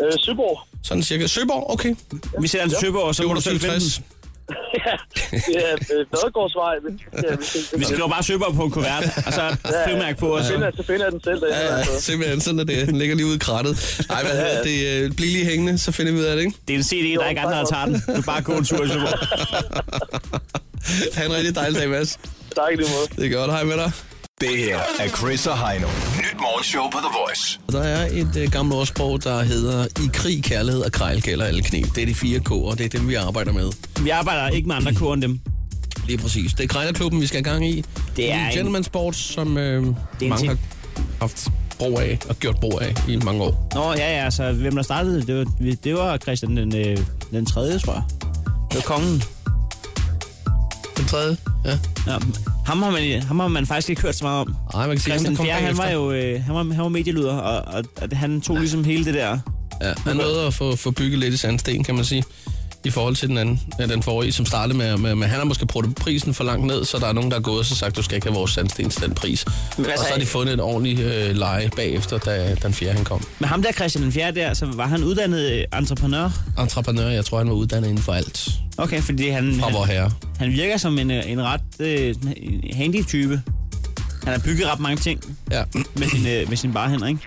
[SPEAKER 6] Øh, Søborg.
[SPEAKER 3] Sådan cirka. Søborg, okay.
[SPEAKER 4] Vi sender den til Søborg, og så
[SPEAKER 3] Det
[SPEAKER 4] må
[SPEAKER 3] var
[SPEAKER 4] du
[SPEAKER 3] du
[SPEAKER 4] selv finde den.
[SPEAKER 3] 67.
[SPEAKER 6] ja, det er øh, Badegårdsvej. hvis- ja, hvis det-
[SPEAKER 4] Vi skriver bare Søborg på en kuvert, og så frimærk på, og
[SPEAKER 6] Så finder
[SPEAKER 4] så...
[SPEAKER 6] jeg- Så finder jeg den selv derhjemme.
[SPEAKER 3] Ja,
[SPEAKER 6] altså.
[SPEAKER 3] ja, simpelthen sådan er det. Den ligger lige ude i krattet. Nej, hvad hedder det? Øh, Bliv lige hængende, så finder vi ud af det, ikke?
[SPEAKER 4] Det er en CD, der er ikke andre, der tager den. Du kan bare gå en tur i Søborg.
[SPEAKER 3] Ha' en rigtig dejlig dag, Mads.
[SPEAKER 6] Tak i lige måde.
[SPEAKER 3] Det er godt. Hej med dig.
[SPEAKER 5] Det her er Chris og Heino. Nyt morgenshow på The Voice.
[SPEAKER 3] Der er et øh, gammelt ordsprog, der hedder, i krig, kærlighed og krejl gælder alle knep. Det er de fire K'er, og det er dem, vi arbejder med.
[SPEAKER 4] Vi arbejder ikke med andre kur end dem.
[SPEAKER 3] Lige præcis. Det er Krejlerklubben, vi skal i gang i.
[SPEAKER 4] Det er
[SPEAKER 3] en
[SPEAKER 4] en-
[SPEAKER 3] gentleman sport, som øh, mange
[SPEAKER 4] ting.
[SPEAKER 3] har haft brug af og gjort brug af i mange år.
[SPEAKER 4] Nå, ja, ja, så hvem der startede det, det, var, vi- det var Christian den, øh, den tredje, tror jeg. Det var kongen.
[SPEAKER 3] Den tredje, ja.
[SPEAKER 4] Ja, ham, har man, ham har man faktisk ikke hørt så meget om.
[SPEAKER 3] Ej, man kan sige, ham, der
[SPEAKER 4] Christian
[SPEAKER 3] kom
[SPEAKER 4] Fjerde, han
[SPEAKER 3] bagefter.
[SPEAKER 4] var jo øh, han var, han var medielyder, og, og, og han tog ligesom hele det der.
[SPEAKER 3] Ja, han nåede at få, få bygget lidt i sandsten, kan man sige, i forhold til den anden, ja, den forrige, som startede med, med, med han har måske brugt prisen for langt ned, så der er nogen, der er gået og så sagt, du skal ikke have vores sandsten til den pris. Men, og
[SPEAKER 4] altså,
[SPEAKER 3] så har de fundet et ordentligt øh, leje bagefter, da den fjerde han kom.
[SPEAKER 4] Men ham der, Christian den Fjerde der, så var han uddannet øh, entreprenør.
[SPEAKER 3] Entreprenør, jeg tror, han var uddannet inden for alt
[SPEAKER 4] Okay, fordi han,
[SPEAKER 3] fra vor
[SPEAKER 4] han,
[SPEAKER 3] herre.
[SPEAKER 4] han virker som en, øh, en ret øh, sådan en handy type. Han har bygget ret mange ting
[SPEAKER 3] Ja.
[SPEAKER 4] med sin, øh, med sin bare hænder, ikke?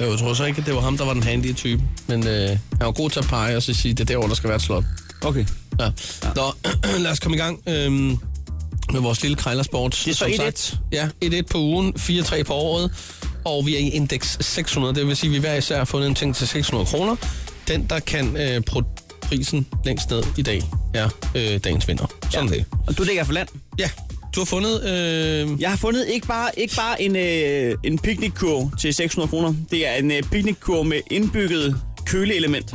[SPEAKER 3] Jo, Jeg tror så ikke, at det var ham, der var den handige type, men øh, han var god til at pege og så sige, det er derovre, der skal være et slot.
[SPEAKER 4] Okay.
[SPEAKER 3] Ja. Nå, lad os komme i gang øhm, med vores lille krejlersport.
[SPEAKER 4] Det er så
[SPEAKER 3] som
[SPEAKER 4] 1-1.
[SPEAKER 3] sagt. Ja, 1-1 på ugen, 4-3 på året, og vi er i indeks 600. Det vil sige, at vi hver især har fundet en ting til 600 kroner. Den, der kan øh, pro- prisen længst ned i dag, er øh, dagens vinder. Sådan ja. det.
[SPEAKER 4] Og du ligger for land.
[SPEAKER 3] Ja, du har fundet... Øh,
[SPEAKER 4] Jeg har fundet ikke bare, ikke bare en, øh, en picnickurv til 600 kroner. Det er en øh, picnickurv med indbygget køleelement.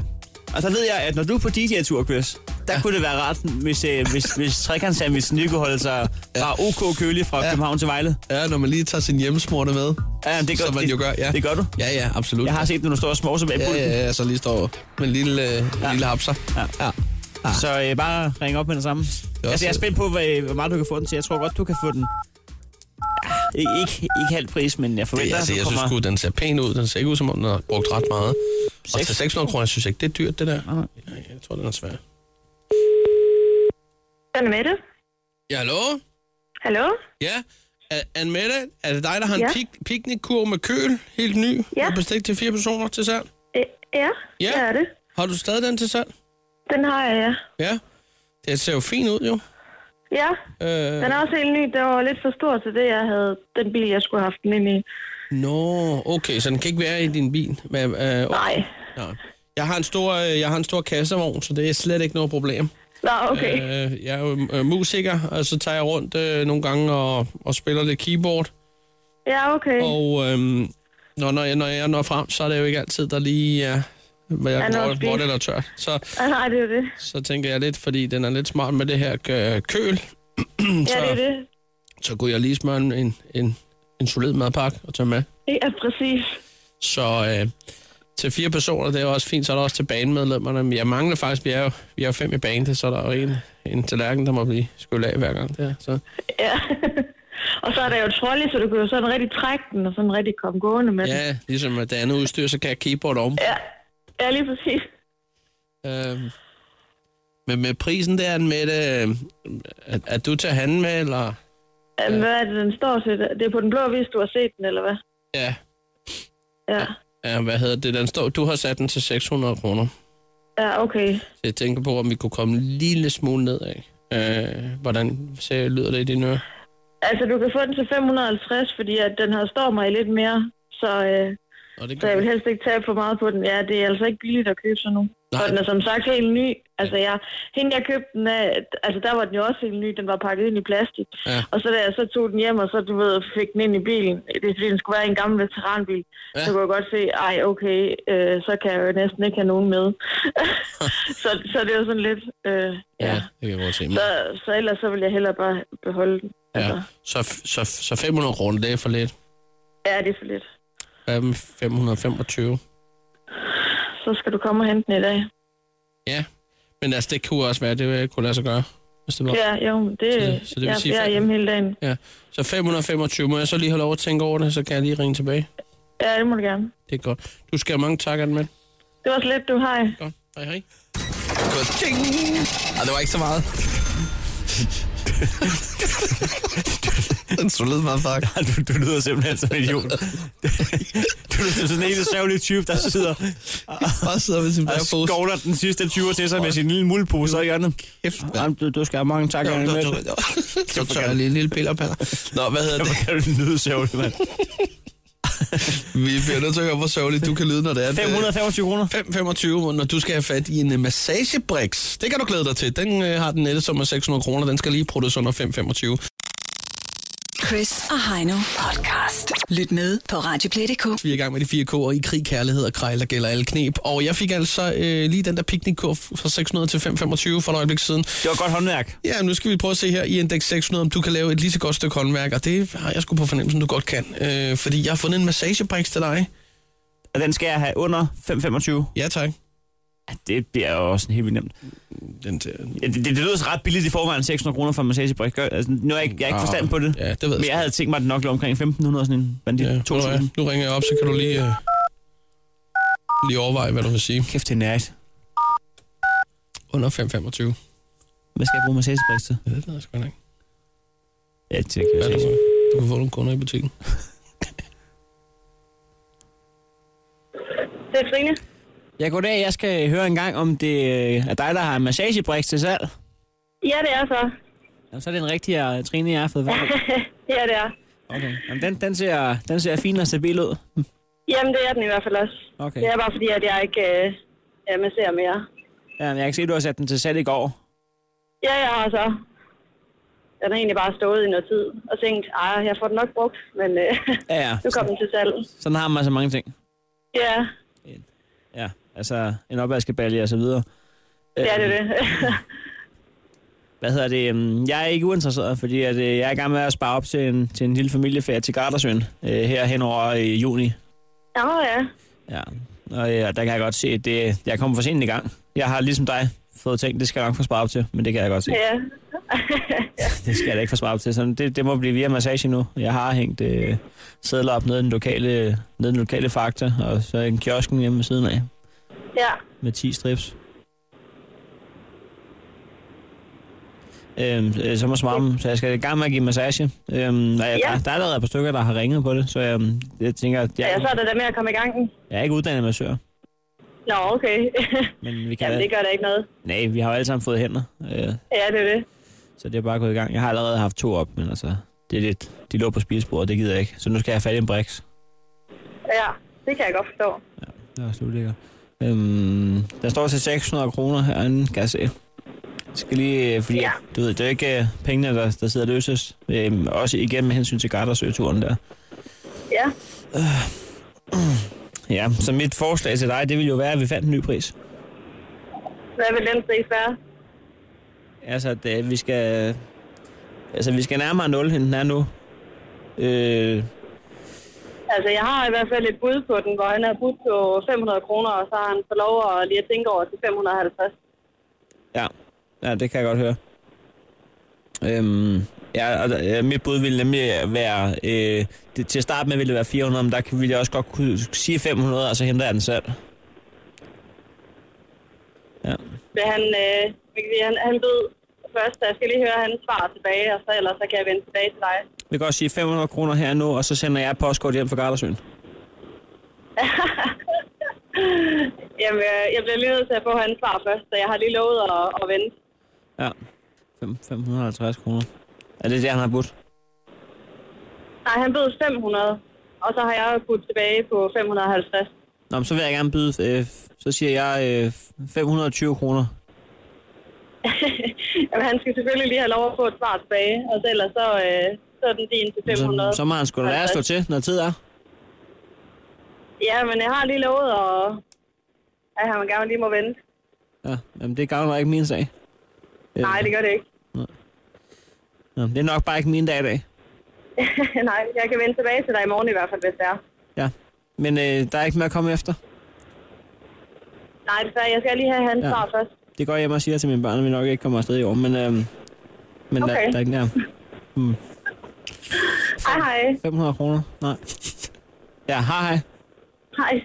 [SPEAKER 4] Og så ved jeg, at når du er på DJ-tur, Chris, der ja. kunne det være rart, hvis, øh, hvis, hvis trekantssandvitsen lige kunne holde sig fra OK kølig fra ja. København til Vejle.
[SPEAKER 3] ja, når man lige tager sin hjemmesmorte med,
[SPEAKER 4] Ja, det gør,
[SPEAKER 3] som man
[SPEAKER 4] det,
[SPEAKER 3] jo gør. Ja.
[SPEAKER 4] Det gør du.
[SPEAKER 3] Ja, ja, absolut.
[SPEAKER 4] Jeg har set, når du står og småser bag
[SPEAKER 3] Ja,
[SPEAKER 4] pulten.
[SPEAKER 3] ja, ja, så lige står med en lille, øh, ja. lille hapser.
[SPEAKER 4] Ja.
[SPEAKER 3] ja. ja.
[SPEAKER 4] Så øh, bare ring op med det samme.
[SPEAKER 3] er
[SPEAKER 4] altså, jeg er
[SPEAKER 3] også-
[SPEAKER 4] spændt på, hvad, hvor meget du kan få den til. Jeg tror godt, du kan få den. Ja, ikke, ikke, ikke halv pris, men jeg
[SPEAKER 3] Det,
[SPEAKER 4] forventer,
[SPEAKER 3] er- altså,
[SPEAKER 4] at
[SPEAKER 3] jeg
[SPEAKER 4] du
[SPEAKER 3] synes
[SPEAKER 4] kommer...
[SPEAKER 3] sgu, den ser pæn ud. Den ser ikke ud, som om den har brugt ret meget. Og til
[SPEAKER 4] Seks.
[SPEAKER 3] 600 kroner, synes jeg ikke, det er dyrt, det der.
[SPEAKER 4] Nej.
[SPEAKER 3] Nej, Jeg tror, den er svær.
[SPEAKER 7] Anne Mette?
[SPEAKER 3] Ja, hallo?
[SPEAKER 7] Hallo?
[SPEAKER 3] Ja? A- Anne-Mette, er det dig, der har en
[SPEAKER 7] Ja.
[SPEAKER 3] pik- piknikkurv med køl? Helt ny?
[SPEAKER 7] Ja.
[SPEAKER 3] Med bestik til fire personer til salg?
[SPEAKER 7] Øh, Ja,
[SPEAKER 3] Ja.
[SPEAKER 7] det er det.
[SPEAKER 3] Har du stadig den til salg?
[SPEAKER 7] Den har jeg, ja.
[SPEAKER 3] Ja. Det ser jo fint ud, jo.
[SPEAKER 7] Ja,
[SPEAKER 3] Øh,
[SPEAKER 7] den er også helt ny. Den var lidt for stor til det, jeg havde, den bil, jeg skulle have haft den ind i.
[SPEAKER 3] nå, okay, så den kan ikke være i din bil. Men, øh, okay.
[SPEAKER 7] Nej.
[SPEAKER 3] Nej. Jeg har en stor, øh, jeg har en stor kassevogn, så det er slet ikke noget problem.
[SPEAKER 7] Nå, okay.
[SPEAKER 3] Øh, jeg er jo øh, musiker, og så tager jeg rundt øh, nogle gange og, og spiller lidt keyboard.
[SPEAKER 7] Ja, okay.
[SPEAKER 3] Og øh, når, når, jeg, når jeg når frem, så er det jo ikke altid, der lige er, hvad jeg,
[SPEAKER 7] Er noget
[SPEAKER 3] hvor,
[SPEAKER 7] at
[SPEAKER 3] hvor
[SPEAKER 7] spise.
[SPEAKER 3] det er tørt. Så,
[SPEAKER 7] Ah, nej, det er jo det.
[SPEAKER 3] så tænker jeg lidt, fordi den er lidt smart med det her øh, køl,
[SPEAKER 7] Ja, det er det.
[SPEAKER 3] så kunne jeg lige smøre en, en, en, en solid madpakke og tage med.
[SPEAKER 7] Ja, præcis.
[SPEAKER 3] Så øh, til fire personer, det er jo også fint, så er der også til banemedlemmerne. Men jeg mangler faktisk, vi er jo, vi er jo fem i banet, så er der jo en, en tallerken, der må blive skyllet af hver gang. Der, så.
[SPEAKER 7] Ja. og så er der jo trolley, så du kan jo sådan rigtig trække den, og sådan rigtig komme gående med den.
[SPEAKER 3] Ja, ligesom med det andet udstyr, så kan jeg keyboard om.
[SPEAKER 7] Ja. Ja, lige præcis.
[SPEAKER 3] Øhm, men med prisen der, med det, er, er du til at handle med, eller?
[SPEAKER 7] Ja. Hvad er det, den står til? Det er på den blå vis, du har set den, eller hvad?
[SPEAKER 3] Ja,
[SPEAKER 7] Ja.
[SPEAKER 3] ja hvad hedder det? Den står, du har sat den til 600 kroner.
[SPEAKER 7] Ja, okay.
[SPEAKER 3] Så jeg tænker på, om vi kunne komme en lille smule nedad. Øh, hvordan ser, lyder det i dine ører?
[SPEAKER 7] Altså, du kan få den til 550, fordi at den her står mig lidt mere, så, øh,
[SPEAKER 3] Og det
[SPEAKER 7] så jeg vil helst ikke tage for meget på den. Ja, det er altså ikke billigt at købe sådan nu.
[SPEAKER 3] Nej.
[SPEAKER 7] Og den er som sagt helt ny. Altså, jeg, hende jeg købte den af, altså der var den jo også helt ny, den var pakket ind i plastik.
[SPEAKER 3] Ja.
[SPEAKER 7] Og så da jeg så tog den hjem, og så du ved, fik den ind i bilen, det er fordi, den skulle være en gammel veteranbil,
[SPEAKER 3] Ja.
[SPEAKER 7] ja. så kunne jeg godt se, ej okay, øh, så kan jeg jo næsten ikke have nogen med. så, så det er jo sådan lidt, øh, ja.
[SPEAKER 3] ja, det kan jeg godt se. Men,
[SPEAKER 7] Så, så ellers så vil jeg hellere bare beholde den. Altså,
[SPEAKER 3] ja. så, så, så 500 kroner, det er for lidt.
[SPEAKER 7] Ja, det er for lidt.
[SPEAKER 3] Der er dem 525.
[SPEAKER 7] Så skal du komme og hente den i dag.
[SPEAKER 3] Ja, men altså, det kunne også være, det øh, kunne lade sig gøre, hvis det var.
[SPEAKER 7] Ja, jo, men det,
[SPEAKER 3] Så- så det vil
[SPEAKER 7] jeg,
[SPEAKER 3] sige
[SPEAKER 7] jeg er
[SPEAKER 3] fem-
[SPEAKER 7] hjemme hele dagen.
[SPEAKER 3] ja. Så 525, må jeg så lige have lov at tænke over det, så kan jeg lige ringe tilbage.
[SPEAKER 7] Ja, det må du gerne.
[SPEAKER 3] Det er godt. Du skal have mange tak, Anne Mette.
[SPEAKER 7] Det var slet, du hej.
[SPEAKER 3] Godt. Hej, hej. Godt. Ting! Ej, det var ikke så meget. en solid motherfucker.
[SPEAKER 4] Du, du lyder simpelthen som en idiot. Du lyder som sådan en lille sørgelig type, der sidder
[SPEAKER 3] Bare sidder med sin
[SPEAKER 4] og
[SPEAKER 3] bærepose.
[SPEAKER 4] skovler den sidste 20'er til sig med sin lille muldpose i hjørnet.
[SPEAKER 3] Kæft, mand.
[SPEAKER 4] Jamen, Du, du skal have mange tak, Anne Mette.
[SPEAKER 3] Så tør jeg lige en lille piller paller. Nå, hvad hedder det?
[SPEAKER 4] Hvor kan du lyde sørgelig, mand.
[SPEAKER 3] Vi bliver nødt til at høre, hvor sørgeligt du kan lyde, når det er. at, øh,
[SPEAKER 4] 525 kroner.
[SPEAKER 3] 525, når du skal have fat i en øh, massagebriks. Det kan du glæde dig til. Den øh, har den nette som er 600 kroner. Den skal lige puttes under 525.
[SPEAKER 2] Chris og Heino podcast. Lyt med på Radioplay.dk.
[SPEAKER 3] Vi er i gang med de fire k'er i krig, kærlighed og krejl, der gælder alle knep. Og jeg fik altså øh, lige den der piknikkur fra 600 til 525 for et øjeblik siden.
[SPEAKER 4] Det var godt håndværk.
[SPEAKER 3] Ja, nu skal vi prøve at se her i Index 600, om du kan lave et lige så godt stykke håndværk. Og det har jeg sgu på fornemmelsen, du godt kan. Øh, fordi jeg har fundet en massagebriks til dig.
[SPEAKER 4] Og den skal jeg have under 525.
[SPEAKER 3] Ja, tak.
[SPEAKER 4] Ja, det bliver jo også sådan helt vildt nemt.
[SPEAKER 3] Den til...
[SPEAKER 4] Ja, Det, det, det lyder så ret billigt i forvejen, 600 kroner for en massagebrik. Gør- Altså, nu har jeg, ikke- jeg har ikke forstand på det.
[SPEAKER 3] Ah, Ja, det ved jeg
[SPEAKER 4] Men jeg havde tænkt mig, at det nok lå omkring 1500 sådan en bandit.
[SPEAKER 3] Ja,
[SPEAKER 4] Ja,
[SPEAKER 3] ved du hvad?
[SPEAKER 4] 2000.
[SPEAKER 3] nu ringer jeg op, så kan du lige, øh, lige overveje, hvad du vil sige.
[SPEAKER 4] Kæft, det er nært.
[SPEAKER 3] Under 525.
[SPEAKER 4] Hvad skal jeg bruge massagebrik til?
[SPEAKER 3] Ja, det ved jeg sgu da ikke.
[SPEAKER 4] Ja, til at
[SPEAKER 3] Hvad er
[SPEAKER 4] køre
[SPEAKER 3] det
[SPEAKER 4] sex.
[SPEAKER 3] for? Du kan få nogle kunder i butikken.
[SPEAKER 7] Det er Trine.
[SPEAKER 4] Ja, goddag. Jeg skal høre en gang, om det øh, er dig, der har en massagebrik til salg.
[SPEAKER 7] Ja, det er så.
[SPEAKER 4] Jamen, så er det en rigtig øh, Trine, jeg har fået valgt.
[SPEAKER 7] ja, det er.
[SPEAKER 4] Okay. Jamen, den, den, ser, den ser fin og stabil ud.
[SPEAKER 7] Jamen, det er den i hvert fald også.
[SPEAKER 4] Okay.
[SPEAKER 7] Det er bare fordi, at jeg ikke øh, jeg masserer mere.
[SPEAKER 4] Ja, men jeg kan se, at du har sat den til salg i går.
[SPEAKER 7] Ja, jeg har så. Den har egentlig bare stået i noget tid og tænkt, ej, jeg får den nok brugt, men øh,
[SPEAKER 4] Ja, ja.
[SPEAKER 7] nu kom den til salg.
[SPEAKER 4] Sådan har man så mange ting.
[SPEAKER 7] Ja,
[SPEAKER 4] Ja, altså en opvaskebalje og så videre. Øh,
[SPEAKER 7] det er det det.
[SPEAKER 3] Øhm.
[SPEAKER 4] Hvad hedder det? øhm, Jeg er ikke uinteresseret, fordi at, øh, jeg er i gang med at spare op til en, til en lille familieferie til Gardersøen øh, her henover i juni.
[SPEAKER 7] Nå ja.
[SPEAKER 4] Ja, og øh, der kan jeg godt se, at det, jeg kommer for sent i gang. Jeg har ligesom dig fået tænkt, det skal jeg nok få sparet op til, men det kan jeg godt se.
[SPEAKER 7] Ja.
[SPEAKER 4] Det skal jeg da ikke få sparet op til, så det, det må blive via massage nu. Jeg har hængt øh, sædler op nede i den lokale, nede i den lokale fakta, og så en kiosken hjemme ved siden af
[SPEAKER 7] ja.
[SPEAKER 4] med 10 strips. Øhm, øh, så må smarme, så jeg skal i gang med at give massage. Øhm, og jeg,
[SPEAKER 7] Ja.
[SPEAKER 4] der, der er allerede et par stykker, der har ringet på det, så øhm, jeg tænker, at jeg,
[SPEAKER 7] Ja, så er det der med at komme i gang.
[SPEAKER 4] jeg er ikke uddannet massør,
[SPEAKER 7] Nå, okay.
[SPEAKER 4] men vi kan...
[SPEAKER 7] Jamen, det gør da ikke noget.
[SPEAKER 4] Nej, vi har jo alle sammen fået hænder, øh,
[SPEAKER 7] Ja, det er det.
[SPEAKER 4] så det er bare gået i gang. Jeg har allerede haft to op, men altså, det er lidt, de lå på spidsbordet, det gider jeg ikke. Så nu skal jeg have fat i en briks.
[SPEAKER 7] Ja, det kan jeg godt forstå.
[SPEAKER 4] Det er også ulækkert. Øhm, der står til 600 kroner herinde, kan jeg se. Jeg skal lige, øh, fordi
[SPEAKER 7] Ja.
[SPEAKER 4] ja. du ved, det er ikke øh, pengene, der, der sidder løses. Øhm, også igen med hensyn til Gardersø-turen der.
[SPEAKER 7] Ja.
[SPEAKER 4] Ja, så mit forslag til dig, det ville jo være, at vi fandt en ny pris.
[SPEAKER 7] Hvad vil den pris være?
[SPEAKER 4] Altså, at, øh, vi skal... Altså, vi skal nærmere 0, end den er nu. Øh,
[SPEAKER 7] Altså, jeg har i hvert fald et bud på den, hvor han har budt på 500 kroner, og så har han fået lov at lige at tænke over til 550.
[SPEAKER 4] ja. ja, det kan jeg godt høre. Øhm, ja, og der- ja, mit bud ville nemlig være... Øh, det, til at starte med ville det være 400, men der kan- ville jeg også godt kunne sige 500, og så henter jeg den selv. Ja.
[SPEAKER 7] Vil han, øh, vi kan sige, han, han bød først, jeg skal lige høre hans svar tilbage, og så ellers så kan jeg vende tilbage til dig.
[SPEAKER 4] Vi kan også sige 500 kroner her nu, og så sender jeg et postkort hjem fra Gardersøen.
[SPEAKER 7] Jamen, øh, jeg bliver lige nødt til at få hans svar først, så jeg har lige lovet at, at vente.
[SPEAKER 4] Ja. Fem- 550 kroner. Er det det, han har budt?
[SPEAKER 7] Nej, han bød 500, og så har jeg budt tilbage på 550.
[SPEAKER 4] Nå, men så vil jeg gerne byde... Øh, så siger jeg øh, 520 kroner.
[SPEAKER 7] Jamen, han skal selvfølgelig lige have lov at få et svar tilbage, og så ellers så, øh, så er den din til
[SPEAKER 4] Så,
[SPEAKER 7] 500.
[SPEAKER 4] så må han sgu da lære at slå til, når tid er.
[SPEAKER 7] Ja, men jeg har lige lovet, at, at han gerne lige må vente.
[SPEAKER 4] Ja, jamen det gavner ikke min sag. Øh,
[SPEAKER 7] Nej, det gør det ikke.
[SPEAKER 4] Nå, det er nok bare ikke min dag i dag.
[SPEAKER 7] Nej, jeg kan vende tilbage til dig i morgen i hvert fald, hvis det er.
[SPEAKER 4] Ja. Men øh, der er ikke mere at komme efter.
[SPEAKER 7] Nej, desværre, jeg skal lige have hans
[SPEAKER 4] Ja.
[SPEAKER 7] svar først.
[SPEAKER 4] Det går jeg hjem og siger til mine børn, at vi nok ikke kommer afsted i år, men, øh, men okay. der,
[SPEAKER 7] Okay.
[SPEAKER 4] der, er ikke nær.
[SPEAKER 7] Hej, hej.
[SPEAKER 4] 500 kroner? Nej. Ja, hej hej.
[SPEAKER 7] Hej.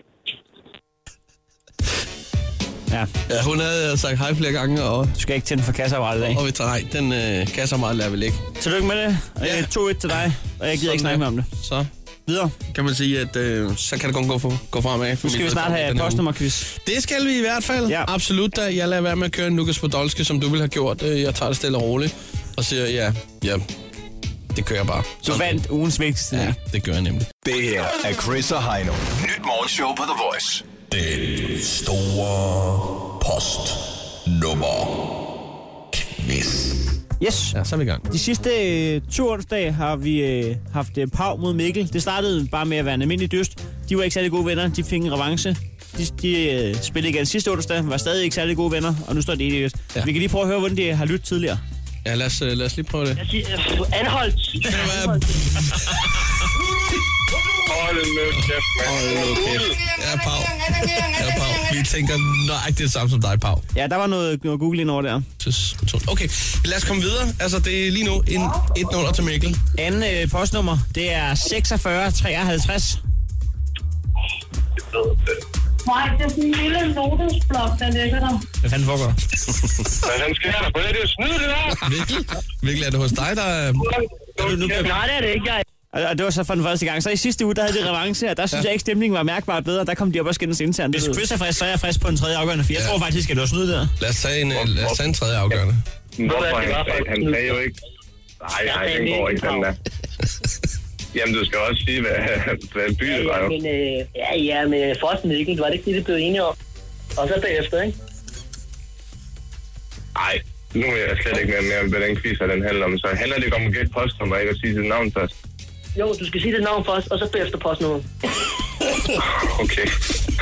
[SPEAKER 4] Ja,
[SPEAKER 3] Ja, hun havde øh, sagt hej flere gange, og,
[SPEAKER 4] du skal ikke tænde for kasseapparatet af.
[SPEAKER 3] og vi tager nej, den øh, kasser meget lader vel ikke.
[SPEAKER 4] Tillykke med det. Og
[SPEAKER 3] Ja.
[SPEAKER 4] jeg tog et til dig, og jeg gider
[SPEAKER 3] Sådan
[SPEAKER 4] ikke snakke
[SPEAKER 3] der.
[SPEAKER 4] mere om det.
[SPEAKER 3] Så
[SPEAKER 4] Videre.
[SPEAKER 3] kan man sige, at øh, så kan det kun gå, for, gå fremad.
[SPEAKER 4] Nu skal vi snart have postnummerquiz.
[SPEAKER 3] Det skal vi i hvert fald.
[SPEAKER 4] Ja.
[SPEAKER 3] Absolut da. Jeg lader være med at køre en Lukas Podolski, som du ville have gjort. Øh, Jeg tager det stille og roligt og siger, ja, ja, det kører jeg bare.
[SPEAKER 4] Du vandt ugens vigtigste.
[SPEAKER 3] Ja, det gør jeg nemlig.
[SPEAKER 5] Det her er Chris og Heino. Nyt morgenshow på The Voice.
[SPEAKER 8] Den store post nummer quiz.
[SPEAKER 4] Yes.
[SPEAKER 3] Ja, så er vi i gang.
[SPEAKER 4] De sidste øh, to onsdage har vi øh, haft øh, pav mod Mikkel. Det startede bare med at være en almindelig dyst. De var ikke særlig gode venner. De fik en revanche. De, de øh, spillede igen sidste onsdag, var stadig ikke særlig gode venner, og nu står det 1
[SPEAKER 3] Ja.
[SPEAKER 4] ja. Vi kan lige prøve at høre, hvordan de har lyttet tidligere.
[SPEAKER 3] Ja, lad os, øh, lad os lige prøve det.
[SPEAKER 6] Jeg siger, øh, anholdt. Hold nu kæft, mand.
[SPEAKER 3] Hold nu kæft. Ja, Pau. Ja, Pau. Vi tænker nøjagtigt det samme som dig, Pau.
[SPEAKER 4] Ja, der var noget, noget Google ind over der.
[SPEAKER 3] Tis- to- Okay, lad os komme videre. Altså, det er lige nu en 1-0 til Mikkel.
[SPEAKER 4] Anden øh, postnummer, det er 46 53.
[SPEAKER 7] Nej, det er sådan en lille notesblok, der ligger der.
[SPEAKER 4] Hvad fanden foregår der?
[SPEAKER 6] Hvad fanden sker der på det? Det er jo snyd, det der.
[SPEAKER 3] Mikkel, Mikkel er det hos dig, der... øh, er-
[SPEAKER 6] Nej, det er det ikke. Jeg
[SPEAKER 4] Og, og det var så for den første gang. Så i sidste uge, der havde de revanche, og der synes ja. jeg ikke, stemningen var mærkbart bedre. Der kom de op og skændes internt. Hvis Chris er frisk, så er jeg frisk på en tredje afgørende, for jeg
[SPEAKER 3] Ja.
[SPEAKER 4] tror faktisk, at det var snyd der.
[SPEAKER 3] Lad os tage en, øh, lad os tage en tredje afgørende.
[SPEAKER 9] Hvorfor
[SPEAKER 6] det var
[SPEAKER 9] han, sagde,
[SPEAKER 6] faktisk
[SPEAKER 9] han sagde jo ikke... Nej, nej,
[SPEAKER 6] sagde
[SPEAKER 9] den går
[SPEAKER 6] ikke
[SPEAKER 9] ikke, den der.
[SPEAKER 6] Claus.
[SPEAKER 9] Jamen, du skal også sige, hvad, hvad by det var jo.
[SPEAKER 6] men, øh, ja, ja, men øh, Frost Mikkel, var det ikke det, de blev enige om? Og så bagefter, ikke?
[SPEAKER 9] Nej, nu er jeg slet ikke med mere, om, hvad den quiz her, den handler om. Så handler det ikke om at gætte postnummer, ikke at sige sit navn først.
[SPEAKER 6] Jo, du skal sige dit navn først, og så bagefter postnummeret.
[SPEAKER 9] Okay.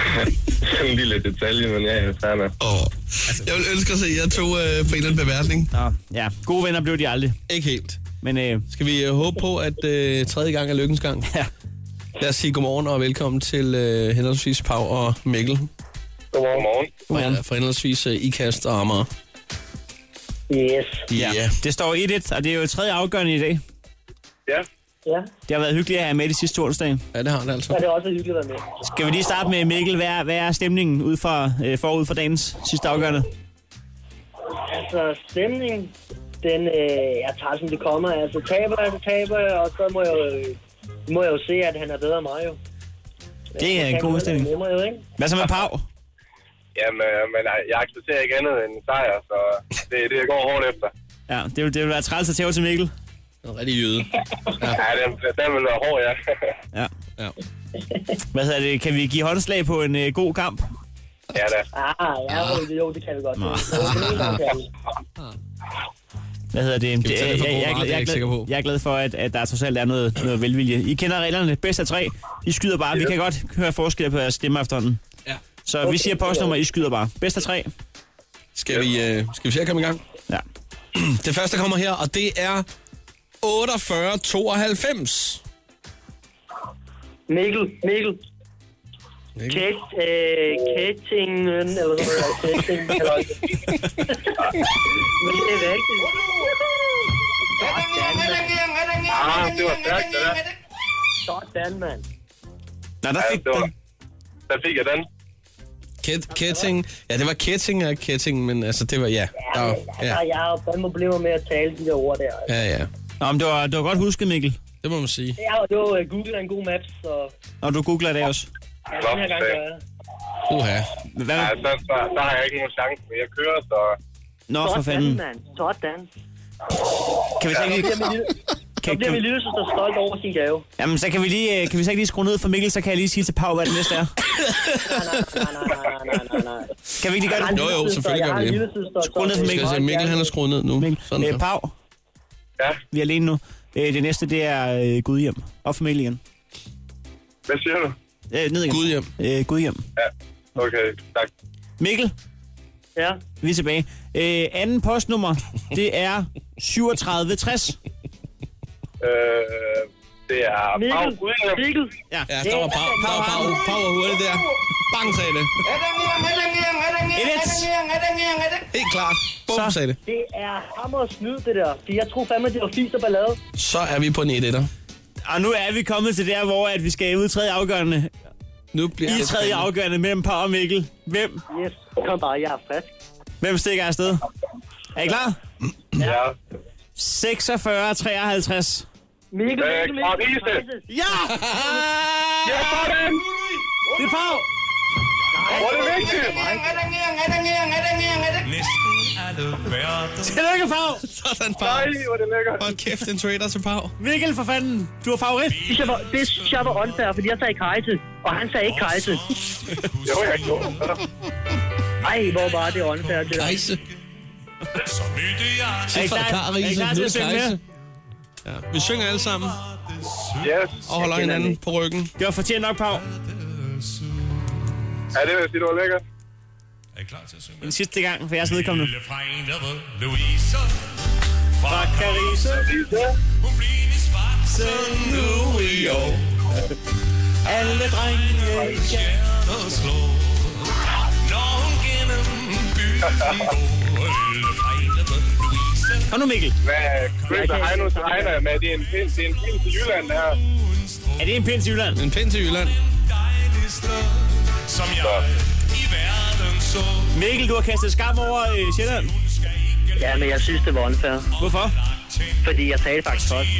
[SPEAKER 9] Sådan en lille detalje, men ja, jeg er færdig med.
[SPEAKER 3] Åh, jeg vil ønske at se jer to øh, på en eller anden beværtning.
[SPEAKER 4] Nå, ja. Gode venner blev de aldrig.
[SPEAKER 3] Ikke helt.
[SPEAKER 4] Men øh,
[SPEAKER 3] Skal vi øh, håbe på, at øh, tredje gang er lykkens gang?
[SPEAKER 4] Ja.
[SPEAKER 3] Lad os sige godmorgen og velkommen til øh, henholdsvis Pau og Mikkel.
[SPEAKER 9] Godmorgen. Godmorgen.
[SPEAKER 4] Godmorgen.
[SPEAKER 3] Fra, fra henholdsvis øh, Ikast og Amager.
[SPEAKER 6] Yes.
[SPEAKER 4] ja.
[SPEAKER 3] Ja.
[SPEAKER 4] det står 1-1, og det er jo tredje afgørende i dag.
[SPEAKER 9] Ja.
[SPEAKER 6] Ja,
[SPEAKER 4] Det har været hyggeligt at have med de sidste to onsdage.
[SPEAKER 3] ja, det har det altså.
[SPEAKER 6] så er det også hyggeligt at være med.
[SPEAKER 4] Skal vi lige starte med Mikkel? Hvad er, hvad er stemningen ud fra, øh, forud for dagens sidste afgørende?
[SPEAKER 6] Altså, stemningen, den, øh, jeg tager som det kommer. Altså, taber jeg, så taber jeg, og så må jeg, jo- øh, må jeg jo se, at han er bedre end mig, jo.
[SPEAKER 4] Det er en god stemning.
[SPEAKER 6] Det jo, ikke?
[SPEAKER 4] Hvad så med Pau?
[SPEAKER 9] Jamen, øh, men øh, jeg accepterer ikke andet end en sejr, så det er det, jeg går hårdt efter.
[SPEAKER 4] Ja, det vil, det vil være træls at tæve til Mikkel.
[SPEAKER 3] En rigtig jøde.
[SPEAKER 9] Ja, den, den vil være hård, ja.
[SPEAKER 4] Ja.
[SPEAKER 3] Ja.
[SPEAKER 4] Hvad hedder det? Kan vi give håndslag på en øh, god kamp?
[SPEAKER 9] ja da.
[SPEAKER 6] Ah, ja, jo, jo, det kan vi godt. Jo, det kan vi.
[SPEAKER 4] Hvad hedder det?
[SPEAKER 3] vi
[SPEAKER 4] det
[SPEAKER 3] tage
[SPEAKER 4] jeg,
[SPEAKER 3] det
[SPEAKER 4] jeg,
[SPEAKER 3] for gode
[SPEAKER 4] jeg, jeg,
[SPEAKER 3] varer? Det er jeg
[SPEAKER 4] jeg,
[SPEAKER 3] ikke sikker på.
[SPEAKER 4] jeg, jeg er glad for, at, at der trods alt er noget, noget velvilje. I kender reglerne. Bedst af tre. I skyder bare. Vi kan godt høre forskel på jeres stemme efterhånden.
[SPEAKER 3] Ja.
[SPEAKER 4] Så vi siger postnummer, I skyder bare. Bedst af tre.
[SPEAKER 3] Skal vi, øh, skal vi se at komme i gang?
[SPEAKER 4] Ja.
[SPEAKER 3] Det første kommer her, og det er 4892.
[SPEAKER 6] Mikkel, Mikkel,
[SPEAKER 3] Mikkel.
[SPEAKER 6] Kate, øh, Katingen, eller sådan noget, Katingen, eller også. Men det er rigtigt.
[SPEAKER 9] Ah, det var stærkt, det der.
[SPEAKER 6] Sådan, mand.
[SPEAKER 4] Nå, der
[SPEAKER 9] Ja,
[SPEAKER 4] fik
[SPEAKER 9] det var...
[SPEAKER 4] den.
[SPEAKER 9] Der fik jeg den.
[SPEAKER 3] Ket- Ketting. Ja, det var Ketting og Ketting, men altså, det var ja. Der var, ja.
[SPEAKER 6] Ja. altså, Jeg har jo fandme problemer med at tale de der ord der. altså.
[SPEAKER 3] ja, ja.
[SPEAKER 4] Nå, men det var, det var godt husket, Mikkel.
[SPEAKER 3] Det må man sige.
[SPEAKER 6] Jeg har jo øh, Google er en god maps, så
[SPEAKER 4] Og du googler det også.
[SPEAKER 6] ja, den her gang gør jeg.
[SPEAKER 3] Uha.
[SPEAKER 4] Hvad?
[SPEAKER 9] Ja, så, så, så har jeg ikke nogen chance, men jeg kører, så...
[SPEAKER 4] Nå, for
[SPEAKER 6] Sådan,
[SPEAKER 4] fanden.
[SPEAKER 6] mand. Sådan.
[SPEAKER 4] Kan vi så ikke lige...
[SPEAKER 6] Så
[SPEAKER 4] Kan,
[SPEAKER 6] bliver min
[SPEAKER 4] kan,
[SPEAKER 6] lille søster stolt over sin gave.
[SPEAKER 4] jamen, så kan vi, lige, øh, kan vi så ikke lige skrue ned for Mikkel, så kan jeg lige sige til Pau, hvad det næste er.
[SPEAKER 6] Nej, nej, nej, nej, nej, nej, nej, nej.
[SPEAKER 4] Kan vi ikke lige gøre det?
[SPEAKER 3] Jo, jo, selvfølgelig
[SPEAKER 6] jeg
[SPEAKER 3] gør
[SPEAKER 6] har
[SPEAKER 3] vi
[SPEAKER 6] en
[SPEAKER 3] det.
[SPEAKER 6] lille søster.
[SPEAKER 4] Skru ned for
[SPEAKER 3] Skal
[SPEAKER 4] Mikkel.
[SPEAKER 3] jeg se, Mikkel han er skruet ned nu. Sådan
[SPEAKER 4] Mikkel, øh,
[SPEAKER 3] der.
[SPEAKER 4] Pau,
[SPEAKER 9] Ja,
[SPEAKER 4] vi er alene nu. Øh, det næste, det er øh, Gudhjem. Op for Mikkel igen.
[SPEAKER 9] hvad siger du?
[SPEAKER 4] Øh, ned igen.
[SPEAKER 3] Gud hjem.
[SPEAKER 4] Øh, Gudhjem.
[SPEAKER 9] Ja, okay, tak.
[SPEAKER 4] Mikkel,
[SPEAKER 6] Ja.
[SPEAKER 4] vi er tilbage. Øh, anden postnummer, det er 3760.
[SPEAKER 9] Øh, Det er Pau
[SPEAKER 10] Mikkel,
[SPEAKER 9] Gudenum.
[SPEAKER 10] Mikkel,
[SPEAKER 4] Ja.
[SPEAKER 3] Ja, der var power, der var power, power hurtigt der. Bang, sagde det. Helt klart. Bum,
[SPEAKER 4] Så.
[SPEAKER 3] sagde det.
[SPEAKER 10] det er hammer og snyd, det der. For jeg tror fandme, det var fisk og ballade.
[SPEAKER 3] Så er vi på en 1 1'er.
[SPEAKER 4] Og nu er vi kommet til der, hvor at vi skal ud i tredje afgørende.
[SPEAKER 3] Nu bliver
[SPEAKER 4] I
[SPEAKER 3] det
[SPEAKER 4] tredje
[SPEAKER 3] spændende.
[SPEAKER 4] afgørende mellem Pau og Mikkel. Hvem,
[SPEAKER 10] Yes, kom bare, jeg er frisk.
[SPEAKER 4] hvem stikker afsted? Er I klar? 46-53.
[SPEAKER 9] Ja.
[SPEAKER 10] Mikkel, Mikkel,
[SPEAKER 9] Øh, Karen
[SPEAKER 10] Mikkel,
[SPEAKER 9] Riese.
[SPEAKER 10] Riese.
[SPEAKER 4] Ja!
[SPEAKER 9] Ja, sådan!
[SPEAKER 4] Det er Pau!
[SPEAKER 9] Hvor er det vigtigt?
[SPEAKER 11] Næsten er det værd.
[SPEAKER 4] Tillykke, Pau!
[SPEAKER 3] Sådan,
[SPEAKER 9] Nej,
[SPEAKER 3] Pau.
[SPEAKER 9] hvor er det lækkert.
[SPEAKER 3] Hold kæft, en trader til Pau.
[SPEAKER 4] Mikkel, for fanden! Du er
[SPEAKER 10] Det
[SPEAKER 4] favorit!
[SPEAKER 10] synes jeg var, det synes jeg var unfair, fordi jeg sagde kajse, og han sagde ikke kajse.
[SPEAKER 9] Jo, jeg gjorde det.
[SPEAKER 10] Ej, hvor var det unfair, det der.
[SPEAKER 3] Kajse.
[SPEAKER 11] Så mødte jeg
[SPEAKER 3] Det er fra
[SPEAKER 4] klar- er I
[SPEAKER 3] Karise.
[SPEAKER 4] klar
[SPEAKER 3] Nu
[SPEAKER 4] til
[SPEAKER 3] er
[SPEAKER 4] at synge
[SPEAKER 3] Kajse. Ja. Vi synger alle sammen
[SPEAKER 9] Yes.
[SPEAKER 3] og holder hinanden på ryggen.
[SPEAKER 4] Det var fortjent nok, Pau.
[SPEAKER 9] Ja, det vil jeg sige, det var lækkert.
[SPEAKER 11] Er I klar til at synge?
[SPEAKER 4] Den sidste gang, for jeres vedkommende.
[SPEAKER 11] Lille fra en, der var Louise
[SPEAKER 4] Fra
[SPEAKER 11] Fra
[SPEAKER 4] Carise.
[SPEAKER 9] Lise,
[SPEAKER 11] Hun blev i svart
[SPEAKER 4] Så nu i år. Alle drenge
[SPEAKER 11] stjerner slår Når hun gennem byen går Lille fra en, der var Louise
[SPEAKER 4] Kom nu, Mikkel.
[SPEAKER 9] hvad Chris og Heino tegner jeg med, det er en pind, det er en pind til Jylland, det her.
[SPEAKER 4] Er det en pind til Jylland?
[SPEAKER 3] En pind til Jylland.
[SPEAKER 11] Dejligste Som jeg i verden så
[SPEAKER 4] Mikkel, du har kastet skam over øh, Sjælland.
[SPEAKER 10] Ja, men jeg synes, det var unfair,
[SPEAKER 4] Hvorfor?
[SPEAKER 10] fordi jeg sagde faktisk også.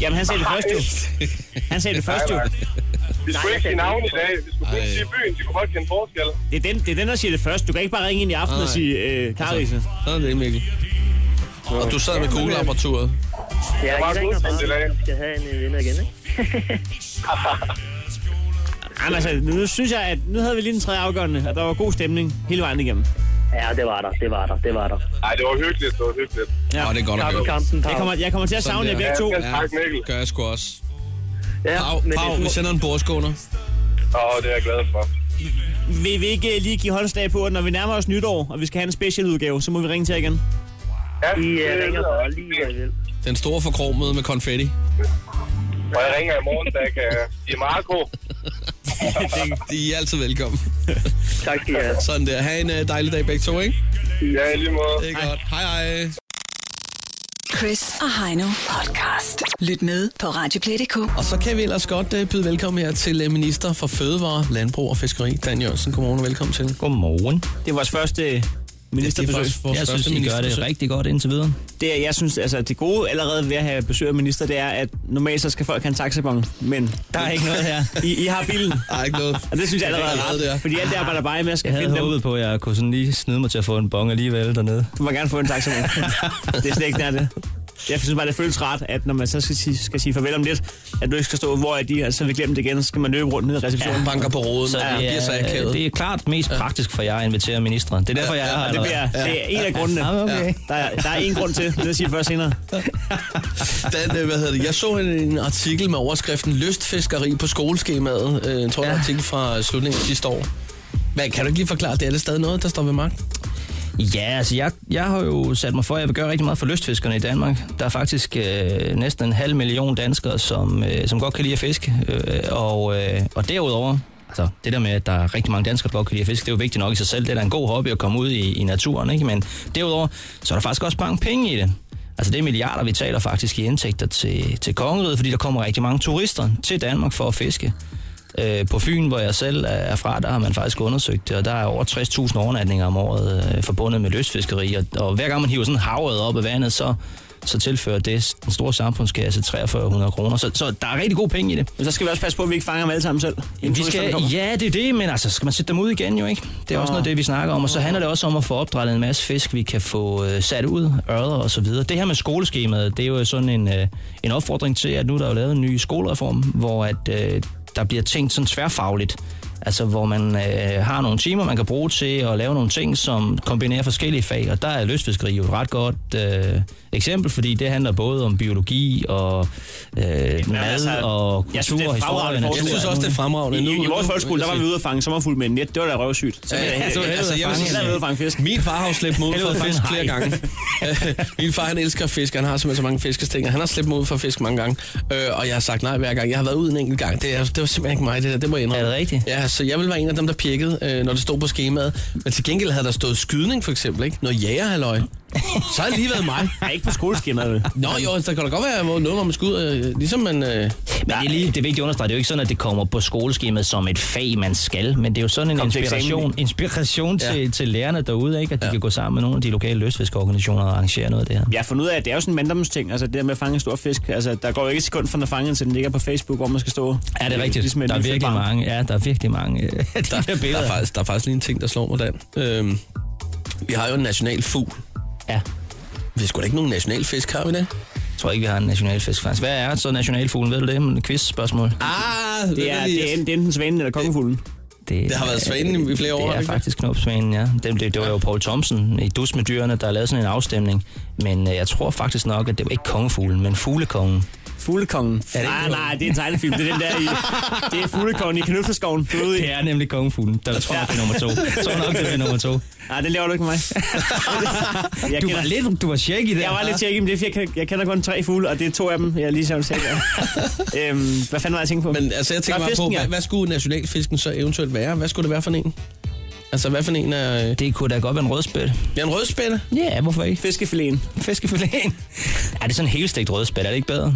[SPEAKER 4] Jamen, han sagde det først jo. Han sagde det først jo.
[SPEAKER 9] Vi skulle ikke sige navn i dag. Vi skulle kun
[SPEAKER 3] Ej.
[SPEAKER 9] sige byen. De kunne godt kende forskel.
[SPEAKER 4] Det er, den, det er den, der siger det først. Du kan ikke bare ringe ind i aften og
[SPEAKER 3] Nej. Altså-
[SPEAKER 4] sige, øh, Karise.
[SPEAKER 3] Sådan er det, Mikkel. Og du sad med kugleapparaturet.
[SPEAKER 10] Ja,
[SPEAKER 9] var
[SPEAKER 10] jeg ringer
[SPEAKER 9] god
[SPEAKER 10] bare,
[SPEAKER 9] til det,
[SPEAKER 10] at
[SPEAKER 9] ikke?
[SPEAKER 10] vi skal have en øh, vinder igen, ikke?
[SPEAKER 4] Jamen, altså, nu synes jeg, at nu havde vi lige den tredje afgørende, og der var god stemning hele vejen igennem.
[SPEAKER 10] Ja, det var der, det var der, det var der.
[SPEAKER 9] Ej, det var hyggeligt. Det var hyggeligt.
[SPEAKER 4] Ja.
[SPEAKER 3] Åh, det er godt at
[SPEAKER 10] Tak for
[SPEAKER 3] høre.
[SPEAKER 10] kampen, Pau.
[SPEAKER 4] Jeg kommer, jeg kommer til at
[SPEAKER 3] Sådan
[SPEAKER 4] savne jer
[SPEAKER 3] der.
[SPEAKER 9] Ja,
[SPEAKER 4] begge to.
[SPEAKER 9] selv tak, Mikkel.
[SPEAKER 3] Gør jeg sgu også.
[SPEAKER 10] ja,
[SPEAKER 3] Pau,
[SPEAKER 10] men
[SPEAKER 3] Pau, vi
[SPEAKER 10] det,
[SPEAKER 3] sender en bordskåner.
[SPEAKER 9] Åh, det er jeg glad for.
[SPEAKER 4] Vil vi ikke øh, lige give håndslag på, at når vi nærmer os nytår, og vi skal have en specialudgave, så må vi ringe til jer igen.
[SPEAKER 9] Ja,
[SPEAKER 10] I øh,
[SPEAKER 9] det
[SPEAKER 10] ringer
[SPEAKER 9] lyder
[SPEAKER 10] bare
[SPEAKER 9] også
[SPEAKER 10] lige,
[SPEAKER 9] fint.
[SPEAKER 10] hvad I vil.
[SPEAKER 3] Den store forkromede med konfetti.
[SPEAKER 9] Og jeg ringer i morgen, da jeg kan sige Marco.
[SPEAKER 3] De er altid velkommen.
[SPEAKER 10] Tak skal I have.
[SPEAKER 3] Sådan der. Ha' en øh, dejlig dag begge to, ikke?
[SPEAKER 9] Ja, i lige måde.
[SPEAKER 3] Det er godt. Hej hej.
[SPEAKER 2] Chris og Heino podcast. Lyt med på Radioplay.dk.
[SPEAKER 3] Og så kan vi ellers godt øh, byde velkommen her til øh, Minister for Fødevare, Landbrug og Fiskeri, Dan Jørgensen. Godmorgen og velkommen til.
[SPEAKER 6] Godmorgen.
[SPEAKER 4] Det er vores første øh, ministerbesøg.
[SPEAKER 3] faktisk vores
[SPEAKER 6] Jeg
[SPEAKER 3] første
[SPEAKER 6] synes, I gør det
[SPEAKER 3] ministerbesøg.
[SPEAKER 6] rigtig godt indtil videre.
[SPEAKER 4] Det, er- jeg synes, altså, det gode allerede ved at have besøg af minister, det er, at normalt så skal folk have en taxabon, men
[SPEAKER 6] Der er ikke noget her.
[SPEAKER 4] I, I har bilen.
[SPEAKER 3] Ej, ikke noget.
[SPEAKER 4] Og det synes jeg allerede
[SPEAKER 3] Det er
[SPEAKER 4] er
[SPEAKER 3] allerede der.
[SPEAKER 4] rart, fordi alt det arbejder bare med, at jeg skal
[SPEAKER 6] Jeg havde
[SPEAKER 4] finde dem.
[SPEAKER 6] håbet på, at jeg kunne sådan lige snyde mig til at få en bong alligevel dernede.
[SPEAKER 4] Du må gerne få en taxa med. det er slet ikke nær det. Jeg synes bare, det føles rart, at når man så skal sige, skal sige farvel om lidt, at du ikke skal stå, hvor er de, og så vil glemme det igen, så skal man løbe rundt ned i receptionen.
[SPEAKER 3] Hun
[SPEAKER 4] Ja.
[SPEAKER 3] banker på roden, så det bliver så akavet.
[SPEAKER 6] det er klart mest praktisk for jer at invitere ministre. Det er derfor, jeg er her.
[SPEAKER 4] Det, bliver, det er en af grundene.
[SPEAKER 6] Ah, okay.
[SPEAKER 4] Der er, der er en grund til, det siger jeg først senere.
[SPEAKER 3] Dan, øh, hvad hedder det? Jeg så en, en artikel med overskriften Lystfiskeri på skoleskemaet. Øh, jeg tror, det er en artikel fra slutningen af sidste år. Hvad, kan du ikke lige forklare det? Er det stadig noget, der står ved magt?
[SPEAKER 6] Ja, altså jeg, jeg har jo sat mig for, at jeg vil gøre rigtig meget for lystfiskerne i Danmark. Der er faktisk øh, næsten en halv million danskere, som, øh, som godt kan lide at fiske. Øh, og, øh, og derudover, altså det der med, at der er rigtig mange danskere, der godt kan lide at fiske, det er jo vigtigt nok i sig selv. Det er da en god hobby at komme ud i, i naturen, ikke? Men derudover, så er der faktisk også mange penge i det. Altså det er milliarder, vi taler faktisk i indtægter til, til kongeriget, fordi der kommer rigtig mange turister til Danmark for at fiske. Øh, på Fyn, hvor jeg selv er fra, der har man faktisk undersøgt det, og der er over 60.000 overnatninger om året øh, forbundet med lystfiskeri, og, og hver gang man hiver sådan havet op af vandet, så, så tilfører det den store samfundskasse 4300 kroner. Så, så der er rigtig gode penge i det.
[SPEAKER 4] Men så skal vi også passe på, at vi ikke fanger dem alle sammen selv.
[SPEAKER 6] Jamen, vi skal, ja, det er det, men altså, skal man sætte dem ud igen jo, ikke? Det
[SPEAKER 4] Ah.
[SPEAKER 6] er også noget af det, vi snakker om. Og så handler det også om at få opdrettet en masse fisk, vi kan få øh, sat ud, ørder og så videre. Det her med skoleskemaet, det er jo sådan en, øh, en opfordring til, at nu er der jo lavet en ny skolereform, hvor at, øh, der bliver tænkt sådan tværfagligt Altså, hvor man øh, har nogle timer, man kan bruge til at lave nogle ting, som kombinerer forskellige fag. Og der er lystfiskeri jo et ret godt øh, eksempel, fordi det handler både om biologi og øh, mad
[SPEAKER 4] altså,
[SPEAKER 6] og kultur
[SPEAKER 4] jeg synes, det er
[SPEAKER 6] og
[SPEAKER 4] et
[SPEAKER 6] historie.
[SPEAKER 4] fremragende
[SPEAKER 6] natur.
[SPEAKER 4] forslag. I, i, i vores folkeskole, der var vi ude at fange sommerfugle med et net. Det var da røvsygt. Så
[SPEAKER 3] Ja,
[SPEAKER 4] ville jeg-
[SPEAKER 3] det var helvede
[SPEAKER 4] altså,
[SPEAKER 3] at
[SPEAKER 4] jeg
[SPEAKER 3] fange
[SPEAKER 4] ville hellere
[SPEAKER 3] en-
[SPEAKER 4] ude at fange fisk.
[SPEAKER 3] Min far har jo slæbt mig ud
[SPEAKER 4] Helvede
[SPEAKER 3] for
[SPEAKER 4] at
[SPEAKER 3] fisk
[SPEAKER 4] fange
[SPEAKER 3] flere
[SPEAKER 4] hej.
[SPEAKER 3] gange. Øh, Min far, han elsker fisk. Han har simpelthen så mange fiskestænger. Han har slæbt mig ud for fisk mange gange. Øh, og jeg har sagt nej hver gang. Jeg har været ud en enkelt gang. Det, er, det var simpelthen ikke mig, det der. Det må jeg indrømme.
[SPEAKER 6] Er det rigtigt?
[SPEAKER 3] Ja, så jeg ville være en af dem, der pirkede, øh, når det stod på skemaet. Men til gengæld havde der stået skydning, for eksempel. Ikke? Noget jægerhalløj. Så har det lige været mig.
[SPEAKER 4] Nej, ikke på skoleskemaet. vel?
[SPEAKER 3] Nå jo, altså, der kan da godt være hvor- noget, hvor man skal ud. Øh, ligesom man... Øh,
[SPEAKER 6] Men det er, lige, det er vigtigt at understrege, det er jo ikke sådan, at det kommer på skoleskemaet som et fag, man skal, men det er jo sådan en
[SPEAKER 4] Kom til
[SPEAKER 6] inspiration,
[SPEAKER 4] eksamen.
[SPEAKER 6] inspiration til,
[SPEAKER 3] Ja.
[SPEAKER 6] til lærerne derude, ikke? at de ja. kan gå sammen med nogle af de lokale lystfiskorganisationer og arrangere noget af det her.
[SPEAKER 4] Jeg har fundet ud af, at det er jo sådan en manddomsting, altså det der med at fange en stor fisk. Altså, der går jo ikke et sekund fra den er fanget, til den ligger på Facebook, hvor man skal stå.
[SPEAKER 6] Er det rigtigt?
[SPEAKER 4] Ligesom et
[SPEAKER 6] der er
[SPEAKER 4] lille
[SPEAKER 6] virkelig
[SPEAKER 4] barn.
[SPEAKER 6] mange, ja, der er virkelig mange øh, af de der, der
[SPEAKER 3] der,
[SPEAKER 6] billeder.
[SPEAKER 3] er faktisk, der er faktisk lige en ting, der slår mig, Dan. Øhm, vi har jo en national fugl.
[SPEAKER 6] Ja.
[SPEAKER 3] Vi har sgu da ikke nogen nationalfisk, har vi det?
[SPEAKER 6] Jeg tror ikke, vi har en nationalfisk faktisk. Hvad er så nationalfuglen? Ved du det? En quiz spørgsmål.
[SPEAKER 3] Ah,
[SPEAKER 4] Det er, det er, en- det er enten svanen eller kongefuglen.
[SPEAKER 3] Det har været svanen i flere år,
[SPEAKER 6] Det er
[SPEAKER 3] ikke?
[SPEAKER 6] faktisk knopsvanen, ja. Det, det, det var jo Paul Thomsen i Dus med dyrene, der lavede sådan en afstemning. Men øh, jeg tror faktisk nok, at det var ikke kongefuglen, men fuglekongen.
[SPEAKER 4] Fuglekongen.
[SPEAKER 6] det ikke
[SPEAKER 4] Nej,
[SPEAKER 6] noget?
[SPEAKER 4] nej, det er en tegnefilm. Det er den der i... Det er fuglekongen i knøfleskoven. Du er ude i.
[SPEAKER 6] Det er nemlig kongefuglen. Der, der tror jeg, det er nummer to. Jeg tror nok, det bliver nummer to.
[SPEAKER 4] Nej, det laver du ikke med mig. Jeg,
[SPEAKER 6] Du
[SPEAKER 4] kender,
[SPEAKER 6] var lidt, du var shaky der.
[SPEAKER 4] jeg var lidt tjekket, men det er, fordi, jeg, kan- jeg kender kun tre fugle, og det er to af dem, jeg lige selv selv øhm, Hvad fanden var jeg tænkt på?
[SPEAKER 3] Men altså, jeg tænker
[SPEAKER 4] Der
[SPEAKER 3] bare
[SPEAKER 4] er
[SPEAKER 3] på,
[SPEAKER 4] fisken, ja.
[SPEAKER 3] hvad, hvad skulle nationalfisken så eventuelt være? Hvad skulle det være for en? Altså, hvad for en er... Øh,
[SPEAKER 6] Det kunne da godt være en rødspæt.
[SPEAKER 3] ja, en rødspætte?
[SPEAKER 6] Ja, yeah, hvorfor ikke?
[SPEAKER 4] Fiskefiléen.
[SPEAKER 6] Fiskefiléen. Er det er sådan en helstegt rødspæt? Er det ikke bedre?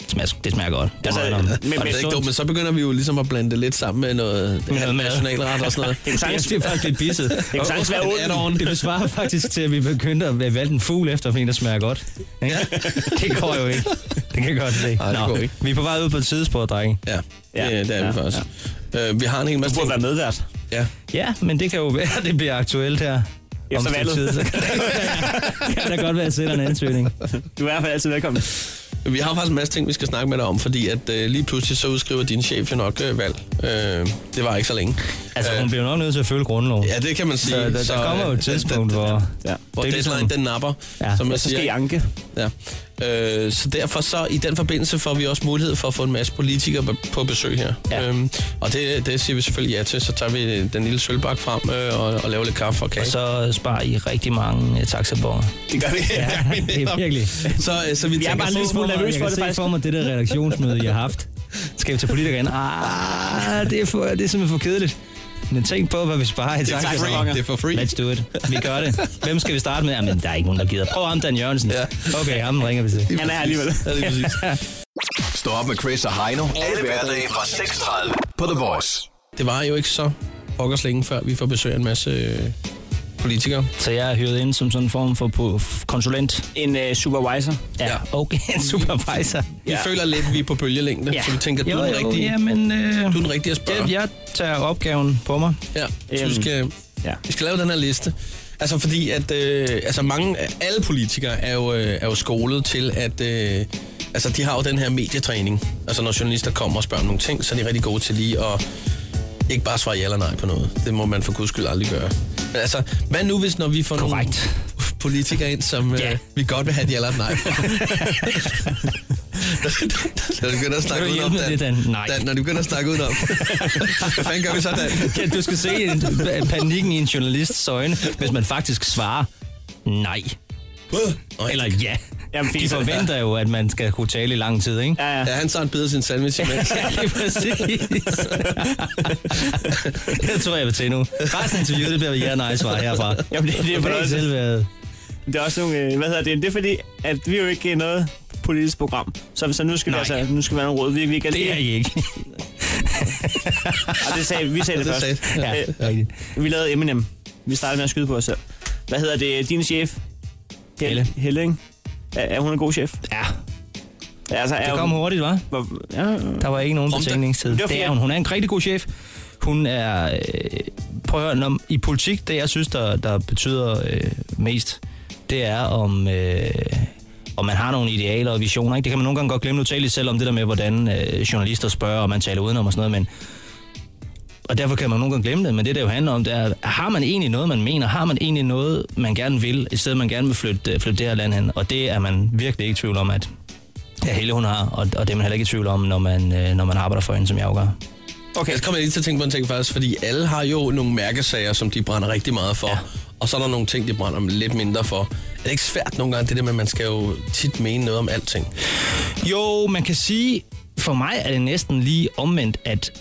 [SPEAKER 6] Det smager, det smager godt. Det
[SPEAKER 4] Altså,
[SPEAKER 6] altså, om.
[SPEAKER 4] men-
[SPEAKER 6] Og
[SPEAKER 4] men-
[SPEAKER 6] det
[SPEAKER 3] Det er ikke
[SPEAKER 6] sundt.
[SPEAKER 3] dumt, men så begynder vi jo ligesom at blande det lidt sammen med noget,
[SPEAKER 6] Med noget mad.
[SPEAKER 3] nationalret og sådan noget.
[SPEAKER 4] Det er sagtens-
[SPEAKER 6] det er faktisk lidt bisset. Det
[SPEAKER 4] kan sagtens være
[SPEAKER 6] olden. Det besvarer faktisk til, at vi begyndte at valgte en fugl efter, fordi der smager godt. Ikke? Det går jo ikke. Det kan jeg godt se.
[SPEAKER 3] Nej, det går ikke.
[SPEAKER 6] Vi er på vej ud på et sidespor, drenge.
[SPEAKER 3] Ja,
[SPEAKER 4] Ja,
[SPEAKER 3] det, det er vi
[SPEAKER 4] ja,
[SPEAKER 3] faktisk. Øh, vi har en hel
[SPEAKER 4] Du
[SPEAKER 3] masse
[SPEAKER 4] burde
[SPEAKER 3] ting.
[SPEAKER 4] være medvært.
[SPEAKER 3] Ja.
[SPEAKER 6] Ja, men det kan jo være, at det bliver aktuelt her. om
[SPEAKER 4] Efter
[SPEAKER 6] et stykke
[SPEAKER 4] valget.
[SPEAKER 6] tid, så kan det- kan der godt være, at jeg sætter en ansøgning.
[SPEAKER 4] Du er i hvert fald altid velkommen.
[SPEAKER 3] Vi har faktisk en masse ting, vi skal snakke med dig om, fordi at øh, lige pludselig så udskriver din chef jo nok øh, valg. Øh, det var ikke så længe.
[SPEAKER 6] Altså,
[SPEAKER 3] Øh,
[SPEAKER 6] hun bliver jo nok nødt til at følge grundloven.
[SPEAKER 3] Ja, det kan man sige.
[SPEAKER 6] Så der, der kommer jo
[SPEAKER 3] øh,
[SPEAKER 6] et tidspunkt,
[SPEAKER 3] den- den-
[SPEAKER 6] hvor...
[SPEAKER 4] Ja.
[SPEAKER 3] Hvor
[SPEAKER 6] Det er ligesom-
[SPEAKER 3] deadline, den napper,
[SPEAKER 6] Ja,
[SPEAKER 3] som man
[SPEAKER 4] Og Altså, så skal I
[SPEAKER 3] siger.
[SPEAKER 4] anke.
[SPEAKER 3] Ja. Øh, så derfor så, i den forbindelse, får vi også mulighed for at få en masse politikere på- på besøg her.
[SPEAKER 6] Ja.
[SPEAKER 3] Øhm, og det, det siger vi selvfølgelig ja til, så tager vi den lille sølvbak frem øh, og, og laver lidt kaffe og kage.
[SPEAKER 6] Og så sparer I rigtig mange uh, taxaborger.
[SPEAKER 3] det gør vi. Ja,
[SPEAKER 6] Det er virkelig.
[SPEAKER 3] Så, øh, så vi, vi tænker,
[SPEAKER 4] bare en
[SPEAKER 3] så-
[SPEAKER 4] lille smule
[SPEAKER 6] Jeg
[SPEAKER 4] nervøs
[SPEAKER 6] kan
[SPEAKER 4] for det,
[SPEAKER 6] se
[SPEAKER 4] faktisk.
[SPEAKER 6] for mig det der redaktionsmøde, jeg har haft. Skal vi tage politikere ind? Ah, det er, for, det er simpelthen for kedeligt. Men tænk på, hvad vi sparer i
[SPEAKER 3] det er
[SPEAKER 6] taxa.
[SPEAKER 3] for free. Det er for free.
[SPEAKER 6] Let's do it. Vi gør det. Hvem skal vi starte med? Jamen, der er ikke nogen, der gider. Prøv ham, Dan Jørgensen.
[SPEAKER 3] Ja.
[SPEAKER 6] Okay, ham ringer vi til.
[SPEAKER 4] Han er her alligevel.
[SPEAKER 3] Ja, det er præcis.
[SPEAKER 12] Stå op med Chris og Heino. Alle hverdage fra 6.30 på The Voice.
[SPEAKER 3] Det var jo ikke så pokkers længe, før vi får besøg af en masse øh, politikere.
[SPEAKER 6] Så jeg er hyret ind som sådan en form for på- konsulent.
[SPEAKER 4] En øh, supervisor.
[SPEAKER 6] Ja, okay. En supervisor.
[SPEAKER 3] Vi føler lidt, at vi er på bølgelængde, så vi tænker, du
[SPEAKER 6] jo,
[SPEAKER 3] er den
[SPEAKER 6] jo,
[SPEAKER 3] rigtige.
[SPEAKER 6] Ja, men... Øh,
[SPEAKER 3] Du er den rigtige at spørge.
[SPEAKER 6] jeg, jeg tager opgaven på mig.
[SPEAKER 3] Ja, så vi
[SPEAKER 4] Øhm,
[SPEAKER 3] skal, ja.
[SPEAKER 4] ja.
[SPEAKER 3] vi skal lave den her liste. Altså fordi, at øh, altså mange, alle politikere er jo, øh, er jo skolet til, at øh, altså, de har jo den her medietræning. Altså når journalister kommer og spørger om nogle ting, så er de rigtig gode til lige at ikke bare svare ja eller nej på noget. Det må man for guds skyld aldrig gøre. Men altså, hvad nu hvis, når vi får
[SPEAKER 6] Korrekt.
[SPEAKER 3] nogle politikere ind, som øh,
[SPEAKER 6] Ja.
[SPEAKER 3] vi godt vil have et ja eller et nej på? når du begynder at snakke
[SPEAKER 6] Kan du
[SPEAKER 3] udenom,
[SPEAKER 6] hjælpe med det, Dan? Nej.
[SPEAKER 3] Dan, når du begynder at snakke udenom. Hvad fanden gør vi så, Dan?
[SPEAKER 6] Ja, du skal se en, panikken i en journalists øjne, hvis man faktisk svarer nej.
[SPEAKER 3] Nå,
[SPEAKER 6] Eller
[SPEAKER 3] Eller,
[SPEAKER 6] ja.
[SPEAKER 4] Jamen,
[SPEAKER 6] De
[SPEAKER 4] fint.
[SPEAKER 6] forventer jo, at man skal kunne tale i lang tid, ikke?
[SPEAKER 4] Ja, ja.
[SPEAKER 3] ja, han tager en bid af sin sandwich imens.
[SPEAKER 6] Ja, det er præcis. det tror jeg, jeg vil til nu. Resten af interviewet, det bliver ja nej svar herfra.
[SPEAKER 4] Jamen, det- det er
[SPEAKER 6] Okay,
[SPEAKER 4] fornøjelse.
[SPEAKER 6] selv været-
[SPEAKER 4] Det er også nogle, øh, hvad hedder det, det er fordi, at vi er jo ikke øh, noget politisk program. Så, så nu skal
[SPEAKER 6] Nej.
[SPEAKER 4] vi altså, nu skal vi have nogle råd. Vi, vi kan,
[SPEAKER 6] Det er I ikke.
[SPEAKER 4] og det sagde, vi sagde det,
[SPEAKER 3] Det
[SPEAKER 4] først.
[SPEAKER 3] sagde-
[SPEAKER 6] Ja,
[SPEAKER 4] ja.
[SPEAKER 6] rigtigt.
[SPEAKER 4] Vi lavede Eminem. Vi startede med at skyde på os selv. Hvad hedder det, din chef?
[SPEAKER 6] Helle.
[SPEAKER 4] Helle, ikke? Er, er hun en god chef?
[SPEAKER 6] Ja,
[SPEAKER 4] Ja, Altså, er
[SPEAKER 6] det
[SPEAKER 4] hun,
[SPEAKER 6] kom hurtigt, var?
[SPEAKER 4] Hvor, ja,
[SPEAKER 6] Der var ikke nogen
[SPEAKER 3] Prompte.
[SPEAKER 6] betænkningstid.
[SPEAKER 4] Det var
[SPEAKER 6] Det er
[SPEAKER 4] fordi-
[SPEAKER 6] hun. Hun er en rigtig god chef. Hun er... Øh, prøv at høre, når, i politik, det jeg synes, der, der betyder øh, mest, det er om... Øh, og man har nogle idealer og visioner. Ikke? Det kan man nogle gange godt glemme. Nu taler I selv om det der med, hvordan øh, journalister spørger, og man taler udenom og sådan noget, men
[SPEAKER 4] Og derfor kan man nogle gange glemme det, men det, der jo handler om, det er, har man egentlig noget, man mener? Har man egentlig noget, man gerne vil, et sted, man gerne vil flytte, øh, flytte det her land hen? Og det er man virkelig ikke i tvivl om, at ja, hele hun har, og, og det er man heller ikke i tvivl om, når man, øh, når man arbejder for hende, som jeg jo gør.
[SPEAKER 3] Okay. Så kommer jeg lige til at tænke på en ting faktisk, fordi alle har jo nogle mærkesager, som de brænder rigtig meget for. Ja. Og så er der nogle ting, de brænder lidt mindre for. Er det ikke svært nogle gange, det der med, at man skal jo tit mene noget om alting?
[SPEAKER 4] Jo, man kan sige, for mig er det næsten lige omvendt, at,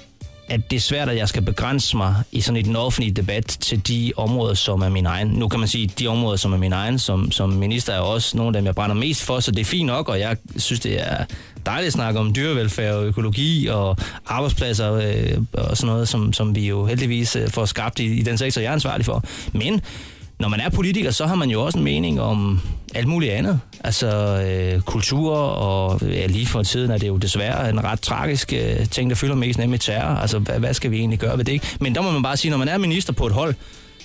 [SPEAKER 4] at det er svært, at jeg skal begrænse mig i sådan en offentlig debat til de områder, som er min egen. Nu kan man sige, de områder, som er min egen, som, som minister er jo også nogle af dem, jeg brænder mest for, så det er fint nok, og jeg synes, det er dejligt at snakke om dyrevelfærd og økologi og arbejdspladser øh, og sådan noget, som, som vi jo heldigvis øh, får skabt i, i den sektor, jeg er ansvarlig for. Men når man er politiker, så har man jo også en mening om alt muligt andet. Altså øh, kultur, og ja, lige for tiden er det jo desværre en ret tragisk øh, ting, der fylder mest, nemlig terror. Altså, hvad, hvad skal vi egentlig gøre ved det? Ikke? Men der må man bare sige, når man er minister på et hold,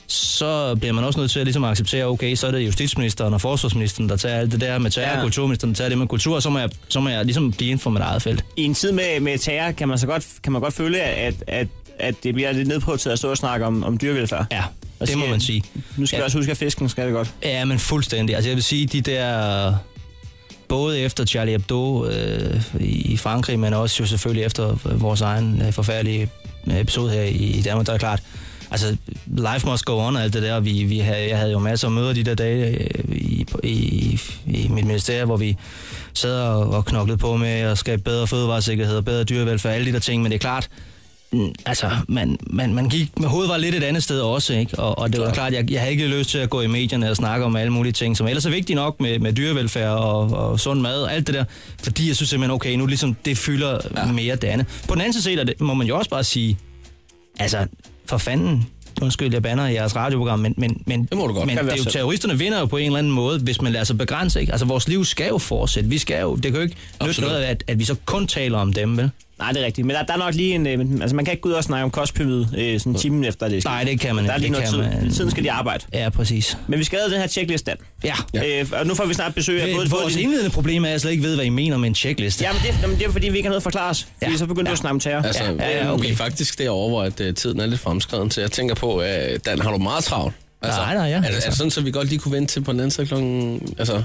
[SPEAKER 4] så bliver man også nødt til at ligesom at acceptere, okay, så er det justitsministeren og forsvarsministeren, der tager alt det der med terror,
[SPEAKER 6] Ja.
[SPEAKER 4] ja. kulturministeren der tager det med kultur, og så må jeg, så må jeg ligesom blive inden for mit eget felt.
[SPEAKER 6] I en tid med, med terror kan man så godt, kan man godt føle, at, at, at det bliver lidt nedprioriteret at stå og snakke om, om dyrevelfærd.
[SPEAKER 4] Ja, det må man sige.
[SPEAKER 6] Nu skal ja.
[SPEAKER 4] Ja.
[SPEAKER 6] vi også huske, at fisken skal det godt.
[SPEAKER 4] Ja, men fuldstændig. Altså jeg vil sige, de der... Både efter Charlie Hebdo øh, i Frankrig, men også jo selvfølgelig efter vores egen øh, forfærdelige episode her i, i Danmark, der er klart, altså life must go on og alt det der. Vi, vi havde, jeg havde jo masser af møder de der dage øh, i, i, i mit ministerie, hvor vi sad og, og knoklede på med at skabe bedre fødevaresikkerhed og bedre dyrevelfærd, alle de der ting, men det er klart, mm, altså, man, man, man gik, med hovedet var lidt et andet sted også, ikke? Og, og det var klart, jeg, jeg havde ikke lyst til at gå i medierne og snakke om alle mulige ting, som ellers er vigtige nok med, med dyrevelfærd og, og sund mad og alt det der, fordi jeg synes simpelthen, okay, nu ligesom, det fylder ja. mere det andet. På den anden side, set, må man jo også bare sige, altså, for fanden, undskyld, jeg banner i jeres radioprogram, men, men, men, det må du
[SPEAKER 3] godt.
[SPEAKER 4] men
[SPEAKER 3] Kan
[SPEAKER 4] det
[SPEAKER 3] være
[SPEAKER 4] er jo
[SPEAKER 3] selv.
[SPEAKER 4] terroristerne vinder jo på en eller anden måde, hvis man lader sig begrænse, ikke? Altså, vores liv skal jo fortsætte. Vi skal jo, det kan jo ikke nytte
[SPEAKER 6] Absolut.
[SPEAKER 4] noget, af, at, at vi så kun taler om dem, vel?
[SPEAKER 6] Nej, det er rigtigt. Men der, der er nok lige en... øh, men- Altså, man kan ikke gå ud og snakke om kostpyramide øh, sådan timen efter det. er sket.
[SPEAKER 4] Nej, det kan man
[SPEAKER 6] Der er lige
[SPEAKER 4] ikke.
[SPEAKER 6] noget
[SPEAKER 4] Det
[SPEAKER 6] tid.
[SPEAKER 4] kan man-
[SPEAKER 6] Tiden skal de arbejde.
[SPEAKER 4] Ja, præcis.
[SPEAKER 6] Men vi skal have den her checklist an.
[SPEAKER 4] Ja.
[SPEAKER 6] Øh, og nu får vi snart besøg af både...
[SPEAKER 4] Både, Øh, vores
[SPEAKER 6] både din-
[SPEAKER 4] indledende problem er, at jeg slet ikke ved, hvad I mener med en checkliste.
[SPEAKER 6] Jamen, det, er- jamen, det er fordi, vi ikke har noget at forklare os. Fordi
[SPEAKER 4] Ja.
[SPEAKER 6] så begynder du at snakke om terror.
[SPEAKER 3] Altså, ja, ja, okay. vi er faktisk derovre, hvor at, uh, tiden er lidt fremskreden, så jeg tænker på, uh, Dan, har du meget travlt? Altså,
[SPEAKER 4] Nej, nej, ja.
[SPEAKER 3] Er, det- er
[SPEAKER 4] Altså.
[SPEAKER 3] det sådan, så vi godt lige kunne vente til på den anden side klokken... Altså,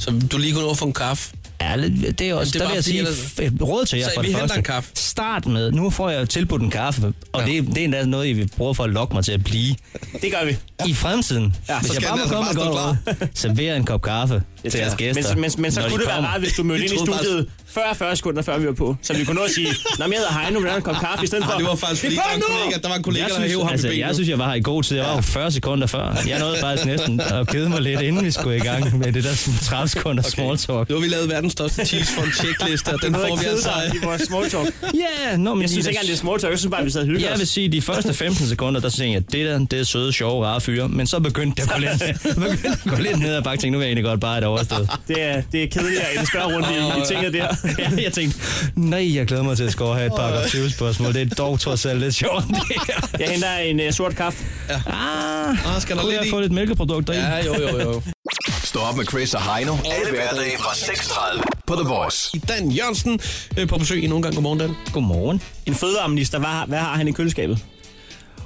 [SPEAKER 3] så du lige kunne nå at få en kaffe?
[SPEAKER 4] Ja, det er også,
[SPEAKER 3] det
[SPEAKER 4] det
[SPEAKER 3] er
[SPEAKER 4] der
[SPEAKER 3] bare
[SPEAKER 4] vil jeg
[SPEAKER 3] fordi,
[SPEAKER 4] sige
[SPEAKER 3] ellers-
[SPEAKER 4] f- et råd til jer
[SPEAKER 3] Så
[SPEAKER 4] for
[SPEAKER 3] vi
[SPEAKER 4] det
[SPEAKER 3] henter
[SPEAKER 4] første.
[SPEAKER 3] en kaffe.
[SPEAKER 4] Start med, nu får jeg jo tilbudt en kaffe, og ja. det, det er endda noget, I vil prøve for at lokke mig til at blive.
[SPEAKER 6] Det gør vi.
[SPEAKER 4] I fremtiden,
[SPEAKER 6] Ja,
[SPEAKER 4] ja,
[SPEAKER 6] så
[SPEAKER 4] hvis jeg
[SPEAKER 6] skal
[SPEAKER 4] bare
[SPEAKER 6] den
[SPEAKER 4] må
[SPEAKER 6] altså
[SPEAKER 4] komme
[SPEAKER 6] bare
[SPEAKER 4] med
[SPEAKER 6] stå
[SPEAKER 4] godt råd, servere en kop kaffe til jeres gæster.
[SPEAKER 6] Men, men, men så
[SPEAKER 4] når de
[SPEAKER 6] kunne det være
[SPEAKER 4] kommer.
[SPEAKER 6] rart, hvis du mødte
[SPEAKER 4] Jeg
[SPEAKER 6] ind i
[SPEAKER 4] troede faktisk-
[SPEAKER 6] studiet før 40 sekunder, før vi var på. Så vi kunne nå at sige, Nå, men jeg hedder Heino, vil du have en kop kaffe i stedet for?
[SPEAKER 3] Ej, Ah, det var faktisk,
[SPEAKER 6] "Vi
[SPEAKER 3] fordi der var en
[SPEAKER 6] kommer nu!"
[SPEAKER 3] kollega, der var en kollega,
[SPEAKER 4] jeg
[SPEAKER 3] der
[SPEAKER 4] synes,
[SPEAKER 3] hævde ham
[SPEAKER 4] altså,
[SPEAKER 3] i benet.
[SPEAKER 4] Jeg synes, jeg var her i god tid. Jeg var jo 40 sekunder før. Jeg nåede faktisk næsten at kede mig lidt, inden vi skulle i gang med det der sådan 30 sekunder okay. small talk.
[SPEAKER 3] Nu har vi lavet verdens største cheese for en checkliste, og den
[SPEAKER 6] Noget
[SPEAKER 3] får vi
[SPEAKER 6] at kede
[SPEAKER 3] altså...
[SPEAKER 6] sig i vores small talk.
[SPEAKER 4] Ja, nå, men
[SPEAKER 6] Jeg
[SPEAKER 4] de
[SPEAKER 6] synes
[SPEAKER 4] der-
[SPEAKER 6] ikke engang, det er small talk. Jeg synes bare, vi sad og hyggede
[SPEAKER 4] Jeg vil
[SPEAKER 6] os.
[SPEAKER 4] sige, de første 15 sekunder, der tænkte jeg, det der, det er søde, sjove, rare fyre. Men så begyndte det at gå lidt, begyndte at gå lidt ned ad bakke. Tænkte, nu vil jeg egentlig godt bare have det overstået.
[SPEAKER 6] Det er, det er kedeligere end en spørgerunde i, i tinget der.
[SPEAKER 4] Ja, jeg tænkte, nej, jeg glæder mig til at score her et par 20 spørgsmål. Det er dog trods alt lidt sjovt. Det her.
[SPEAKER 6] Jeg henter en uh, sort kaffe.
[SPEAKER 4] Ah,
[SPEAKER 3] Ah, skal der
[SPEAKER 4] kunne
[SPEAKER 3] lidt
[SPEAKER 4] jeg
[SPEAKER 3] i?
[SPEAKER 4] få lidt mælkeprodukter i?
[SPEAKER 3] Ja, jo, jo, jo.
[SPEAKER 13] Stå op med Chris og Heino. Alle hverdage fra 6.30 på The Voice.
[SPEAKER 3] I Dan Jørgensen øh, på besøg i nogle gang. Godmorgen, Dan.
[SPEAKER 4] Godmorgen.
[SPEAKER 6] En fødevareminister, hvad, hvad har han i køleskabet?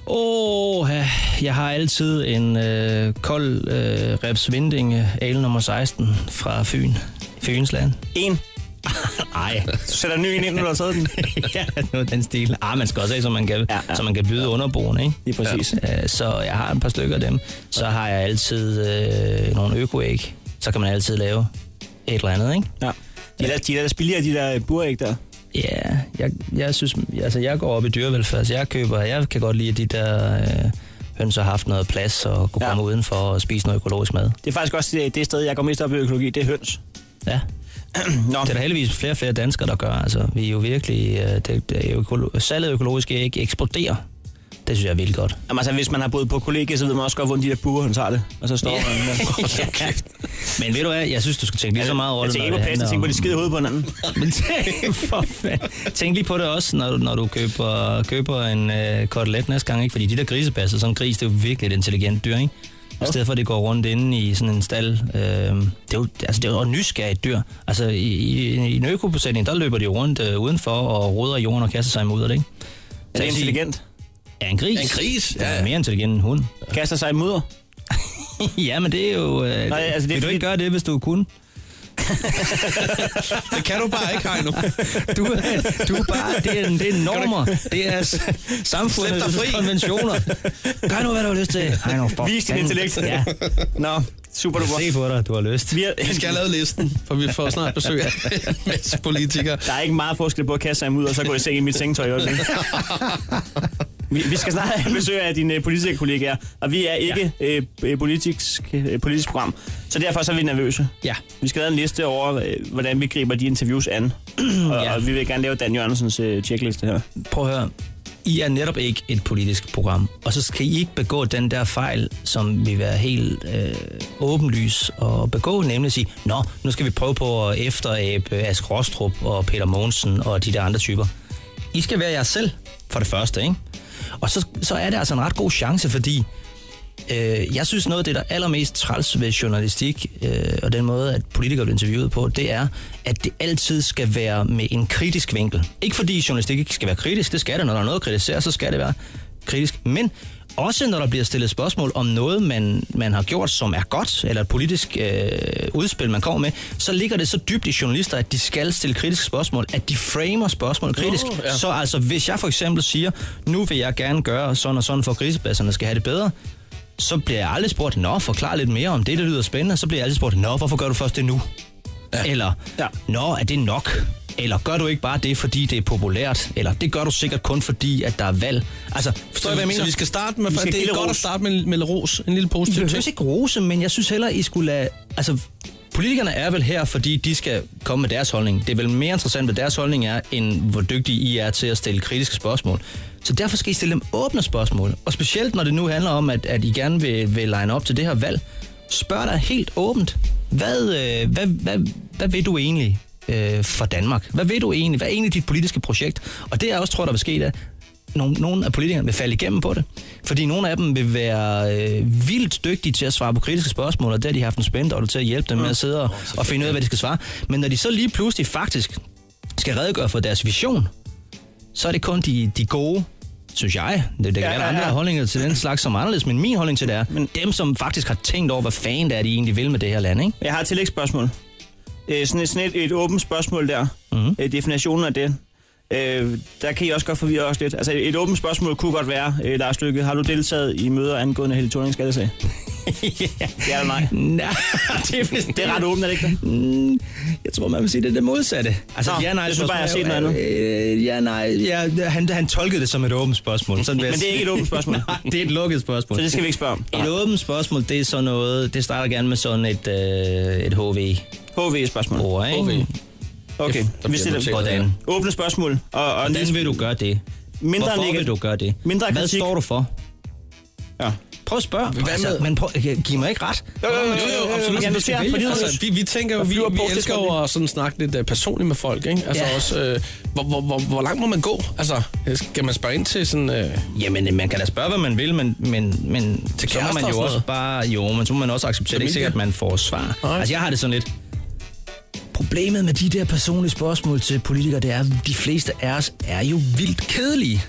[SPEAKER 4] Åh, ja, jeg har altid en øh, kold øh, Reps Vindinge, ale nummer 16 fra Fyn. Fynsland.
[SPEAKER 6] En.
[SPEAKER 4] Nej,
[SPEAKER 6] Du sætter en ny en ind, når du har taget den.
[SPEAKER 4] ja, noget af den stil. Ah, man skal også have, så man kan,
[SPEAKER 6] Ja,
[SPEAKER 4] ja,
[SPEAKER 6] ja.
[SPEAKER 4] ja. Så man kan byde ja. underboen, ikke?
[SPEAKER 6] Lige præcis.
[SPEAKER 4] Øh, Så jeg har et par stykker af dem. Så har jeg altid øh, nogle økoæg. Så kan man altid lave et eller andet, ikke?
[SPEAKER 6] Ja. De er, da- de er da billigere, de der buræg der.
[SPEAKER 4] Ja, jeg, jeg synes, altså jeg går op i dyrevelfærd, så jeg køber, jeg kan godt lide at de der øh, høns har haft noget plads og kunne
[SPEAKER 6] Ja.
[SPEAKER 4] ja. komme udenfor og spise noget økologisk mad.
[SPEAKER 6] Det er faktisk også det, det sted, jeg går mest op i økologi, det er høns.
[SPEAKER 4] Ja.
[SPEAKER 6] Nå,
[SPEAKER 4] Det er der heldigvis flere og flere danskere, der gør. Altså, vi er jo virkelig... Øh, det, det er økolo- salget af økologiske æg eksploderer. Det synes jeg er vildt godt.
[SPEAKER 6] Jamen, altså, hvis man har boet på kollegie, så ved man også godt, hvordan de der burhøns har det. Og så står man...
[SPEAKER 4] ja. Men ved du hvad, jeg synes, du skal tænke lige så meget over
[SPEAKER 6] Jeg
[SPEAKER 4] det,
[SPEAKER 6] tænker
[SPEAKER 4] når
[SPEAKER 6] ikke på
[SPEAKER 4] det handler
[SPEAKER 6] plads, jeg tænker på
[SPEAKER 4] om-
[SPEAKER 6] de skide hoved på hinanden.
[SPEAKER 4] Men tænk, for fanden. tænk lige på det også, når du, når du køber, køber en øh, kotelet næste gang. Ikke? Fordi de der grisebasser, sådan en gris, det er jo virkelig et intelligent dyr, ikke? I stedet for, at det går rundt inde i sådan en stald. Øh, det er jo, altså, det er jo et nysgerrigt dyr. Altså, i, i, i en økobesætning, der løber de jo rundt øh, udenfor og roder i jorden og kaster sig imod det, ikke?
[SPEAKER 6] Er det intelligent?
[SPEAKER 11] Ja, en gris.
[SPEAKER 3] En gris,
[SPEAKER 11] Den
[SPEAKER 3] ja.
[SPEAKER 11] er mere intelligent end en hund.
[SPEAKER 4] Kaster sig i mudder.
[SPEAKER 11] ja, men det er jo... Øh,
[SPEAKER 4] Nej, altså,
[SPEAKER 11] Nej,
[SPEAKER 4] det er
[SPEAKER 11] altså, vil du
[SPEAKER 4] fordi-
[SPEAKER 11] ikke gøre det, hvis du kunne?
[SPEAKER 3] Det kan du bare ikke, Heino.
[SPEAKER 11] Du, er- du er bare... Det er, det er normer. Det er s-
[SPEAKER 3] Slip dig fri.
[SPEAKER 11] samfundets konventioner. Gør nu, hvad du har lyst til. Hej nu, for
[SPEAKER 4] Vis dit
[SPEAKER 11] fanden.
[SPEAKER 4] intellekt.
[SPEAKER 11] Ja.
[SPEAKER 4] Nå, super duper.
[SPEAKER 11] Se på dig, du har lyst.
[SPEAKER 4] Vi er,
[SPEAKER 3] Vi skal have lavet listen, for vi får snart besøg af en masse politikere.
[SPEAKER 4] der er ikke meget forskel på at kaste sig ud og så gå i seng i mit sengetøj. i øjeblikket. Vi, vi skal snart have besøg af dine øh, politiske kollegaer, og vi er ikke ja. øh, politisk, øh, politisk program, så derfor så er vi nervøse.
[SPEAKER 11] Ja.
[SPEAKER 4] Vi skal lave en liste over, øh, hvordan vi griber de interviews an. og,
[SPEAKER 11] Ja.
[SPEAKER 4] og vi vil gerne lave Dan Jørgensens øh, checkliste her.
[SPEAKER 11] Prøv at høre. I er netop ikke et politisk program, og så skal I ikke begå den der fejl, som vil være helt øh, åbenlys og begå, nemlig at sige, nå, nu skal vi prøve på at efterabe Ask Rostrup og Peter Mogensen og de der andre typer. I skal være jer selv, for det første, ikke? Og så, så er det altså en ret god chance, fordi Øh, jeg synes noget af det, der er allermest træls ved journalistik, øh, og den måde, at politikere bliver interviewet på, det er, at det altid skal være med en kritisk vinkel. Ikke fordi journalistik ikke skal være kritisk, det skal det, når der er noget at kritisere, så skal det være kritisk, men også når der bliver stillet spørgsmål om noget, man, man har gjort, som er godt, eller et politisk øh, udspil, man kommer med, så ligger det så dybt i journalister, at de skal stille kritiske spørgsmål, at de framer spørgsmål kritisk.
[SPEAKER 3] Nå,
[SPEAKER 11] Oh,
[SPEAKER 3] ja.
[SPEAKER 11] ja. Så altså, hvis jeg for eksempel siger, nu vil jeg gerne gøre sådan og sådan, for at grisepladserne skal have det bedre, så bliver jeg aldrig spurgt, nå, forklar lidt mere om det, det lyder spændende. Så bliver jeg aldrig spurgt, nå, hvorfor gør du først det nu? Ja. Eller,
[SPEAKER 4] Ja.
[SPEAKER 11] ja. nå, er det nok? Eller gør du ikke bare det, fordi det er populært? Eller det gør du sikkert kun fordi, at der er valg? Altså,
[SPEAKER 3] Så,
[SPEAKER 11] forstår I, hvad jeg mener?
[SPEAKER 3] så vi skal starte med,
[SPEAKER 4] Vi skal
[SPEAKER 3] det
[SPEAKER 4] give
[SPEAKER 3] er
[SPEAKER 4] lidt
[SPEAKER 3] godt at
[SPEAKER 4] ros.
[SPEAKER 3] starte med, med ros, en lille
[SPEAKER 11] I
[SPEAKER 3] positiv ting.
[SPEAKER 11] behøver ikke rose, men jeg synes heller, I skulle lade... Altså, politikerne er vel her, fordi de skal komme med deres holdning. Det er vel mere interessant, hvad deres holdning er, end hvor dygtige I er til at stille kritiske spørgsmål. Så derfor skal I stille dem åbne spørgsmål. Og specielt når det nu handler om, at, at I gerne vil, vil line op til det her valg. Spørg dig helt åbent. Hvad, øh, hvad, hvad, hvad vil du egentlig øh, for Danmark? Hvad vil du egentlig? Hvad er egentlig dit politiske projekt? Og det er også, tror jeg, der vil ske, der nogle, nogle af politikerne vil falde igennem på det. Fordi nogle af dem vil være øh, vildt dygtige til at svare på kritiske spørgsmål, og der har de haft en spændende til at hjælpe dem med at sidde og, og finde ud af, hvad de skal svare. Men når de så lige pludselig faktisk skal redegøre for deres vision, så er det kun de, de gode, synes jeg. Det, det kan
[SPEAKER 4] Ja,
[SPEAKER 11] ja, være,
[SPEAKER 4] ja,
[SPEAKER 11] der er andre
[SPEAKER 4] ja.
[SPEAKER 11] holdninger til den slags som er anderledes, men min holdning til det er, men dem, som faktisk har tænkt over, hvad fanden det er, de egentlig vil med det her land, ikke?
[SPEAKER 4] Jeg har et tillægsspørgsmål. Øh, sådan et, sådan et, et åbent spørgsmål der.
[SPEAKER 11] Mhm.
[SPEAKER 4] Mm-hmm. Øh, definitionen af det. Øh, der kan I også godt forvirre os lidt. Altså et åbent spørgsmål kunne godt være, øh, Lars Lykke, har du deltaget i møder angående Helle Thorning skattesag? Ja eller nej?
[SPEAKER 11] Nej, det er, vist-
[SPEAKER 4] Det er ret åbent, er det ikke det?
[SPEAKER 11] Mm, jeg tror, man vil sige, det er det modsatte. Altså,
[SPEAKER 4] Nå,
[SPEAKER 11] ja, nej,
[SPEAKER 4] jeg synes bare, jeg har set noget
[SPEAKER 11] andet. Øh, ja, nej. Ja, han, han tolkede det som et åbent spørgsmål. Sådan vil jeg
[SPEAKER 4] Men det er
[SPEAKER 11] sige.
[SPEAKER 4] ikke et åbent spørgsmål.
[SPEAKER 11] nej, det er et lukket spørgsmål.
[SPEAKER 4] Så det skal vi ikke spørge om.
[SPEAKER 11] Et åbent spørgsmål, det er sådan noget, det starter gerne med sådan et, øh, et HV-ord,
[SPEAKER 4] HV-spørgsmål.
[SPEAKER 11] ikke?
[SPEAKER 3] HV.
[SPEAKER 4] Okay,
[SPEAKER 3] bliver
[SPEAKER 4] vi stiller
[SPEAKER 3] noteret.
[SPEAKER 11] Hvordan?
[SPEAKER 4] åbne spørgsmål. Og, og
[SPEAKER 11] Hvordan vil du gøre det?
[SPEAKER 4] mindre
[SPEAKER 11] Hvorfor
[SPEAKER 4] negativt.
[SPEAKER 11] vil du gøre det?
[SPEAKER 4] Mindre
[SPEAKER 11] Hvad
[SPEAKER 4] kritik.
[SPEAKER 11] står du for?
[SPEAKER 4] Ja.
[SPEAKER 11] Prøv at spørge. Altså,
[SPEAKER 3] Hvad med-
[SPEAKER 11] men prøv, giv mig ikke ret.
[SPEAKER 3] Jo, jo, absolut.
[SPEAKER 4] Ja,
[SPEAKER 3] Ja,
[SPEAKER 4] det ser jeg, fordi du-
[SPEAKER 3] altså, vi, vi tænker jo, vi,
[SPEAKER 4] flyver
[SPEAKER 3] vi
[SPEAKER 4] på, det
[SPEAKER 3] elsker
[SPEAKER 4] tror
[SPEAKER 3] jo at sådan snakke lidt uh, personligt med folk, ikke? Altså
[SPEAKER 11] Ja.
[SPEAKER 3] også, øh, hvor, hvor, hvor, hvor langt må man gå? Altså, skal man spørge ind til sådan... Øh,
[SPEAKER 11] Jamen, man kan da spørge, hvad man vil, men, men, men til så må
[SPEAKER 3] kærester
[SPEAKER 11] man
[SPEAKER 3] og
[SPEAKER 11] jo
[SPEAKER 3] sådan
[SPEAKER 11] også
[SPEAKER 3] noget.
[SPEAKER 11] bare... Jo, men så må man også acceptere, det er
[SPEAKER 3] Familie.
[SPEAKER 11] ikke sikkert, at man får svar.
[SPEAKER 3] Nej.
[SPEAKER 11] Altså, jeg har det sådan lidt... Problemet med de der personlige spørgsmål til politikere, det er, at de fleste af os er jo vildt kedelige.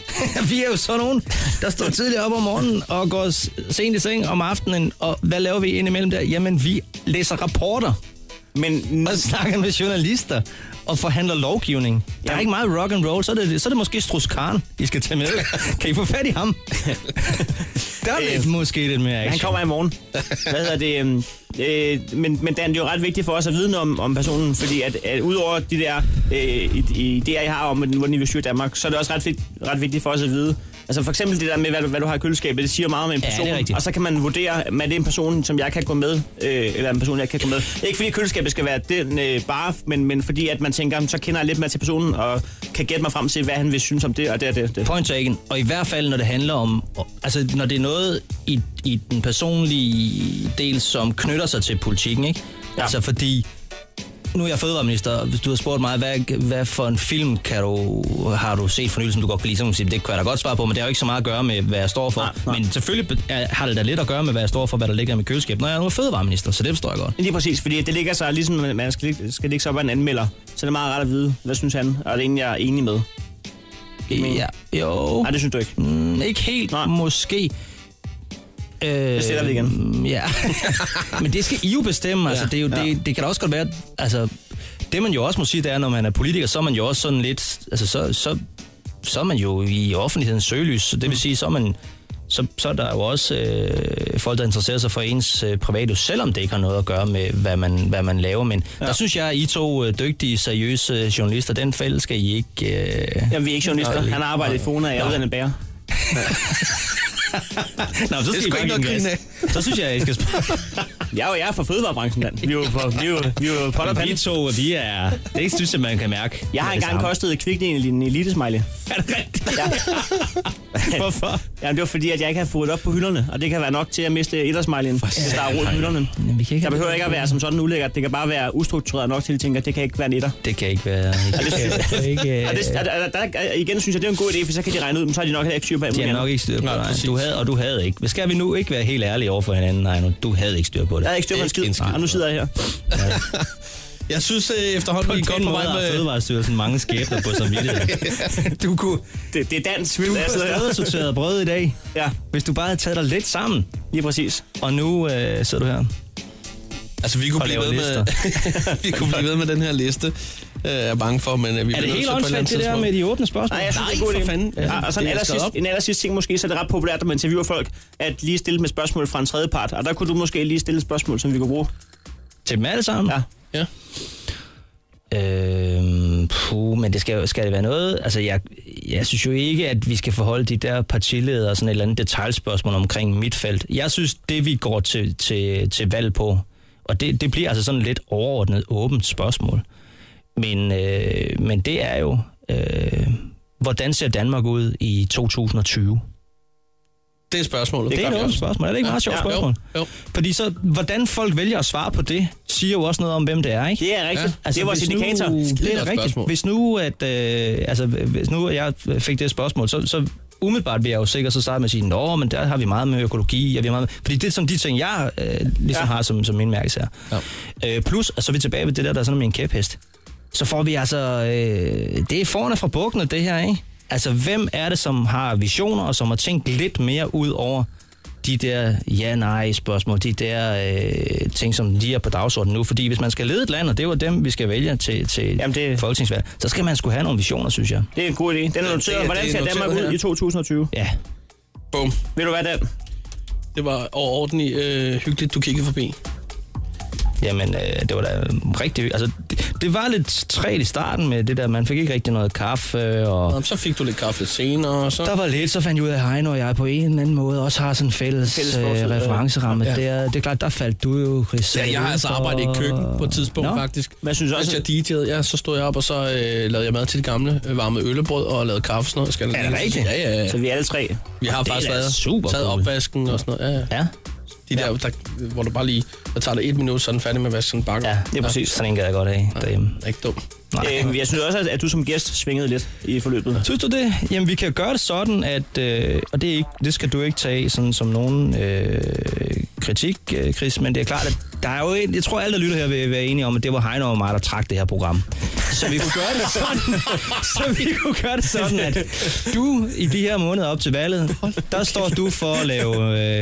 [SPEAKER 11] vi er jo sådan nogen, der står tidligt op om morgenen og går s- sent i seng om aftenen. Og hvad laver vi indimellem der? Jamen, vi læser rapporter
[SPEAKER 4] Men
[SPEAKER 11] og snakker med journalister og forhandler lovgivning. Der er
[SPEAKER 4] Jamen.
[SPEAKER 11] ikke meget rock and roll, så er det, så er det måske Strauss Kahn, I skal tage med. kan I få fat i ham? Der er lidt, måske lidt mere action.
[SPEAKER 4] Øh, han kommer i morgen. Hvad hedder det? øhm, Øh, men, men Dan, det er jo ret vigtigt for os at vide noget om, om personen, fordi at, at udover de der øh, i- idéer, I har om, hvordan I vil styre Danmark, så er det også ret, vigt, ret vigtigt for os at vide. Altså for eksempel det der med, hvad, du- hvad du har i køleskabet, det siger meget om en
[SPEAKER 11] Ja, det er
[SPEAKER 4] person,
[SPEAKER 11] rigtigt.
[SPEAKER 4] og så kan man vurdere, om det er en person, som jeg kan gå med, øh, eller en person, jeg kan gå med. Ikke fordi køleskabet skal være den øh, bare, men, men fordi at man tænker, "Jamen, så kender jeg lidt mere til personen, og kan gætte mig frem til, hvad han vil synes om det, og det og det. og det.
[SPEAKER 11] Point taken. Og i hvert fald, når det handler om... Altså, når det er noget i, i den personlige del, som knytter sig til politikken, ikke?
[SPEAKER 4] Ja.
[SPEAKER 11] Ja. Altså, fordi... Nu er jeg fødevareminister, og hvis du har spurgt mig, hvad, hvad for en film kan du, har du set for nylig, som du godt kan lide, så kan man sige, det kan jeg da godt svare på, men det har jo ikke så meget at gøre med, hvad jeg står for.
[SPEAKER 4] Nej, nej.
[SPEAKER 11] Men selvfølgelig be- er- har det da lidt at gøre med, hvad jeg står for, hvad der ligger i mit køleskab, når jeg nu er fødevareminister, så det forstår jeg godt.
[SPEAKER 4] Lige præcis, fordi det ligger sig, ligesom man skal, ligge- skal ligge sig op af en anmelder. Så det er meget rart at vide, hvad synes han, og det er en, jeg er enig med. give mening.
[SPEAKER 11] Ja, jo.
[SPEAKER 4] Nej, det synes du ikke.
[SPEAKER 11] Mm, ikke helt, Nej. måske. Øh,
[SPEAKER 4] stiller vi
[SPEAKER 11] igen. Ja. Men det skal I jo bestemme. Altså,
[SPEAKER 4] Ja,
[SPEAKER 11] det, er jo,
[SPEAKER 4] ja.
[SPEAKER 11] det, det kan da også godt være... Altså, det man jo også må sige, det er, når man er politiker, så er man jo også sådan lidt... Altså, så, så, så er man jo i offentlighedens søgelys. Så det vil sige, så er man... Så, så er der jo også øh, folk, der interesserer sig for ens øh, privatliv, selvom det ikke har noget at gøre med, hvad man, hvad man laver. Men ja. der synes jeg, at I to øh, dygtige, seriøse journalister, den fælde skal I ikke... Øh,
[SPEAKER 4] Jamen, vi er ikke journalister. Han arbejder i Fona, og jeg er uddannet bærer.
[SPEAKER 11] Nå, men så
[SPEAKER 3] Det er
[SPEAKER 11] skal I
[SPEAKER 3] sgu
[SPEAKER 11] bare
[SPEAKER 3] ikke
[SPEAKER 11] give den
[SPEAKER 3] noget at
[SPEAKER 11] gas. Så synes jeg, at I skal spørge.
[SPEAKER 4] Jeg er jo jeg er fra fødevarebranchen, mand. Vi er jo på, vi er jo, vi er jo pot og
[SPEAKER 11] Vi
[SPEAKER 4] pande.
[SPEAKER 11] to, vi er... Det synes jeg, man kan mærke.
[SPEAKER 4] Jeg har
[SPEAKER 11] Det er
[SPEAKER 4] engang
[SPEAKER 11] det
[SPEAKER 4] kostet kvikdelen i en elitesmiley.
[SPEAKER 11] samme. Er det rigtigt?
[SPEAKER 4] Ja.
[SPEAKER 11] Hvorfor?
[SPEAKER 4] Jamen, det var fordi, at jeg ikke havde fået op på hylderne, og det kan være nok til at miste ettersmiley'en, hvis der er rundt på hylderne.
[SPEAKER 11] Jamen, vi kan ikke
[SPEAKER 4] Der behøver ikke at være som sådan ulækkert. Det kan bare være ustruktureret nok til, at de tænker, at det kan ikke være en etter.
[SPEAKER 11] Det kan ikke være... Det kan ikke... øh,
[SPEAKER 4] Og det, og, og, der, og, igen synes jeg, det er en god idé, for så kan de regne ud, men så er de nok heller ikke syge på alt
[SPEAKER 11] De har
[SPEAKER 4] muligt
[SPEAKER 11] nok
[SPEAKER 4] andet.
[SPEAKER 11] ikke styr på
[SPEAKER 3] Nej,
[SPEAKER 11] det.
[SPEAKER 3] præcis.
[SPEAKER 11] Du havde, og du havde ikke. Skal vi nu ikke være helt ærlige over for hinanden? Nej, nu, du havde ikke styr på det.
[SPEAKER 4] Jeg havde ikke styr på en skid,
[SPEAKER 11] en skid.
[SPEAKER 4] og nu sidder jeg her.
[SPEAKER 3] Jeg synes øh, efterhånden,
[SPEAKER 11] På
[SPEAKER 3] vi
[SPEAKER 11] en
[SPEAKER 3] er godt
[SPEAKER 11] god
[SPEAKER 3] på
[SPEAKER 11] måde
[SPEAKER 3] vej
[SPEAKER 11] har
[SPEAKER 3] med...
[SPEAKER 11] Fødevarestyrelsen mange skæbner på samvittigheden.
[SPEAKER 3] Du kunne...
[SPEAKER 4] Det, det er dansk
[SPEAKER 11] Du
[SPEAKER 4] vildt,
[SPEAKER 11] har
[SPEAKER 4] jeg sidder
[SPEAKER 11] stadig
[SPEAKER 4] her.
[SPEAKER 11] sorteret brød i dag.
[SPEAKER 4] Ja,
[SPEAKER 11] Hvis du bare havde taget dig lidt sammen,
[SPEAKER 4] lige præcis.
[SPEAKER 11] og nu øh, sidder du her.
[SPEAKER 3] Altså, vi kunne,
[SPEAKER 11] Og
[SPEAKER 3] blive
[SPEAKER 11] lave
[SPEAKER 3] ved med, vi kunne blive ved med den her liste, øh, jeg er bange for, men øh, vi
[SPEAKER 11] Er det
[SPEAKER 3] nødt
[SPEAKER 11] helt
[SPEAKER 3] til på et eller
[SPEAKER 11] åndssvagt,
[SPEAKER 3] andet
[SPEAKER 11] det der
[SPEAKER 3] tidspunkt-
[SPEAKER 11] med de åbne spørgsmål?
[SPEAKER 4] Nej, jeg synes,
[SPEAKER 3] Nej,
[SPEAKER 4] det er en god
[SPEAKER 3] for
[SPEAKER 4] idé.
[SPEAKER 3] fanden.
[SPEAKER 4] Ja, og så en
[SPEAKER 3] Det er
[SPEAKER 4] allersidst,
[SPEAKER 3] skrevet op.
[SPEAKER 4] en allersidst ting måske, så er det ret populært, at man interviewer folk, at lige stille med spørgsmål fra en tredje part. Og der kunne du måske lige stille et spørgsmål, som vi kunne bruge.
[SPEAKER 11] Hmm. Til dem alle sammen?
[SPEAKER 4] Ja.
[SPEAKER 3] Ja.
[SPEAKER 11] Øhm, puh, men det skal, jo- skal det være noget... Altså, jeg, jeg synes jo ikke, at vi skal forholde de der partiledere og sådan et eller andet detaljspørgsmål omkring mit felt. Jeg synes, det vi går til, til, til valg på, og det, det bliver altså sådan lidt overordnet åbent spørgsmål. Men, øh, men det er jo, øh, hvordan ser Danmark ud i 2020?
[SPEAKER 3] Det er spørgsmålet.
[SPEAKER 11] Det, det er et åbent spørgsmål. Er det ikke et meget sjovt
[SPEAKER 4] Ja,
[SPEAKER 11] spørgsmål?
[SPEAKER 3] Jo, jo.
[SPEAKER 11] Fordi så, hvordan folk vælger at svare på det, siger jo også noget om, hvem det er, ikke?
[SPEAKER 4] Det er rigtigt.
[SPEAKER 3] Ja.
[SPEAKER 4] Ja. Altså, det er vores
[SPEAKER 11] hvis nu-
[SPEAKER 4] indikator.
[SPEAKER 11] Det er
[SPEAKER 3] godt
[SPEAKER 11] rigtigt.
[SPEAKER 3] spørgsmål.
[SPEAKER 11] Hvis nu, at, øh, altså, hvis nu at jeg fik det spørgsmål, så, så umiddelbart vil jeg jo sikkert så starte med at sige, nå, men der har vi meget med økologi, og vi har meget med... Fordi det er sådan de ting, jeg øh, ligesom
[SPEAKER 4] Ja.
[SPEAKER 11] ja. har som, som min mærkesager.
[SPEAKER 3] Ja.
[SPEAKER 11] Øh, plus, og så er vi tilbage ved det der, der er sådan med en kæphest. Så får vi altså... Øh, det er forne fra bukkene, det her, ikke? Altså, hvem er det, som har visioner, og som har tænkt lidt mere ud over de der ja-nej-spørgsmål, de der øh, ting, som lige er på dagsordenen nu. Fordi hvis man skal lede et land, og det var dem, vi skal vælge til, til
[SPEAKER 4] Jamen, det-
[SPEAKER 11] folketingsvalg, så skal man skulle have nogle visioner, synes jeg.
[SPEAKER 4] Det er en god idé. Den er
[SPEAKER 3] det er
[SPEAKER 4] noteret. Hvordan ser
[SPEAKER 3] noteret,
[SPEAKER 4] Danmark
[SPEAKER 3] ja.
[SPEAKER 4] ud i 2020?
[SPEAKER 11] Ja,
[SPEAKER 3] Bum.
[SPEAKER 4] Vil du være den?
[SPEAKER 3] Det var overordentligt øh, hyggeligt, du kiggede forbi.
[SPEAKER 11] jamen, øh, det var da rigtig... Altså, det, det var lidt træt i starten med det der, man fik ikke rigtig noget kaffe, og...
[SPEAKER 3] Nå, så fik du lidt kaffe lidt senere, og så...
[SPEAKER 11] Der var lidt, så fandt jeg ud af, at Heino og jeg på en eller anden måde også har sådan en fælles,
[SPEAKER 4] Fælles
[SPEAKER 11] fælles
[SPEAKER 4] fortid,
[SPEAKER 11] øh,
[SPEAKER 4] ja.
[SPEAKER 11] referenceramme.
[SPEAKER 3] Ja.
[SPEAKER 11] Ja. Der, det er klart, der faldt du jo, Chris.
[SPEAKER 3] Ja, jeg har altså
[SPEAKER 11] udenfor.
[SPEAKER 3] arbejdet i køkken på et tidspunkt
[SPEAKER 11] Nå.
[SPEAKER 3] Nå. faktisk.
[SPEAKER 4] Men jeg synes
[SPEAKER 3] Hvis
[SPEAKER 4] også,
[SPEAKER 3] jeg DJ'ede, ja, så stod jeg op, og så øh, lavede jeg mad til det gamle, øh, varmede øllebrød og lavede kaffe og sådan noget. Skal jeg
[SPEAKER 11] Er
[SPEAKER 3] lige
[SPEAKER 11] det
[SPEAKER 3] sige.
[SPEAKER 11] rigtigt?
[SPEAKER 3] Ja, ja, ja.
[SPEAKER 4] så vi er alle tre.
[SPEAKER 3] Vi har
[SPEAKER 11] det er
[SPEAKER 3] faktisk
[SPEAKER 11] da
[SPEAKER 3] været
[SPEAKER 11] super
[SPEAKER 3] taget
[SPEAKER 11] cool.
[SPEAKER 3] opvasken og sådan noget. Ja, ja.
[SPEAKER 11] Ja,
[SPEAKER 3] De der, der, hvor du bare lige, der tager det et minut, så er den færdig med at vaske sådan en bakke.
[SPEAKER 11] ja, det er præcis. Sådan en gad jeg godt af derhjemme.
[SPEAKER 3] Det er Ikke dumt.
[SPEAKER 11] Nej.
[SPEAKER 4] Øh, jeg synes også, at- at du som gæst svingede lidt i forløbet.
[SPEAKER 11] Synes du det? Jamen, vi kan gøre det sådan, at... Øh, og det, er ikke, det skal du ikke tage sådan som nogen øh, kritik, øh, Chris, men det er klart, at der er jo en, jeg tror, alle, der lytter her, vil være enige om, at det var Heino og mig, der trak det her program. Så vi kunne gøre det sådan, så vi kunne gøre det sådan at du i de her måneder op til valget, der står du for at, lave,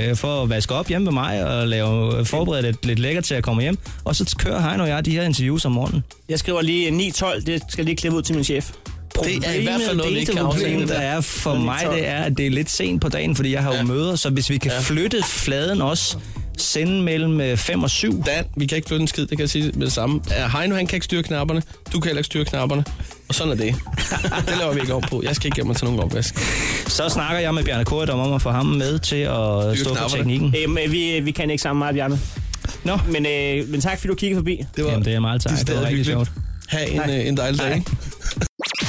[SPEAKER 11] øh, for at vaske op hjemme med mig og lave, forberede lidt, lidt lækkert til at komme hjem. Og så kører Heino og jeg de her interviews om morgenen.
[SPEAKER 4] Jeg skriver lige 9-12. Det skal jeg lige klippe ud til min chef.
[SPEAKER 3] Det er i hvert fald noget, vi
[SPEAKER 11] det
[SPEAKER 3] ikke kan
[SPEAKER 11] problem,
[SPEAKER 3] aftale.
[SPEAKER 11] der er for mig, det er, at det er lidt sent på dagen, fordi jeg har jo
[SPEAKER 3] Ja.
[SPEAKER 11] møder, så hvis vi kan
[SPEAKER 3] Ja.
[SPEAKER 11] flytte fladen også, sende mellem 5 og 7.
[SPEAKER 3] Dan, vi kan ikke flytte en skid, det kan jeg sige med det samme. Ja, Heino, han kan ikke styre knapperne, du kan heller ikke styre knapperne. Og sådan er det. det laver vi ikke om på. Jeg skal ikke hjem og tage nogen opvask.
[SPEAKER 11] Så snakker jeg med Bjarne Korydom om at få ham med til at stå for
[SPEAKER 3] knapperne.
[SPEAKER 11] teknikken.
[SPEAKER 4] Øh, vi, vi kan ikke sammen meget, Bjarne.
[SPEAKER 11] Nå,
[SPEAKER 4] Men, øh, men tak, fordi du kiggede forbi.
[SPEAKER 3] Det var,
[SPEAKER 11] Jamen, det er meget tak. Det,
[SPEAKER 3] stadig
[SPEAKER 11] var rigtig
[SPEAKER 3] hyggeligt.
[SPEAKER 11] sjovt.
[SPEAKER 3] Ha' en, øh, en dejlig dag.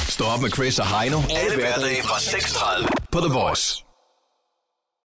[SPEAKER 5] Stå op med Chris og Heino. Alle hverdage fra 6.30 på The Voice.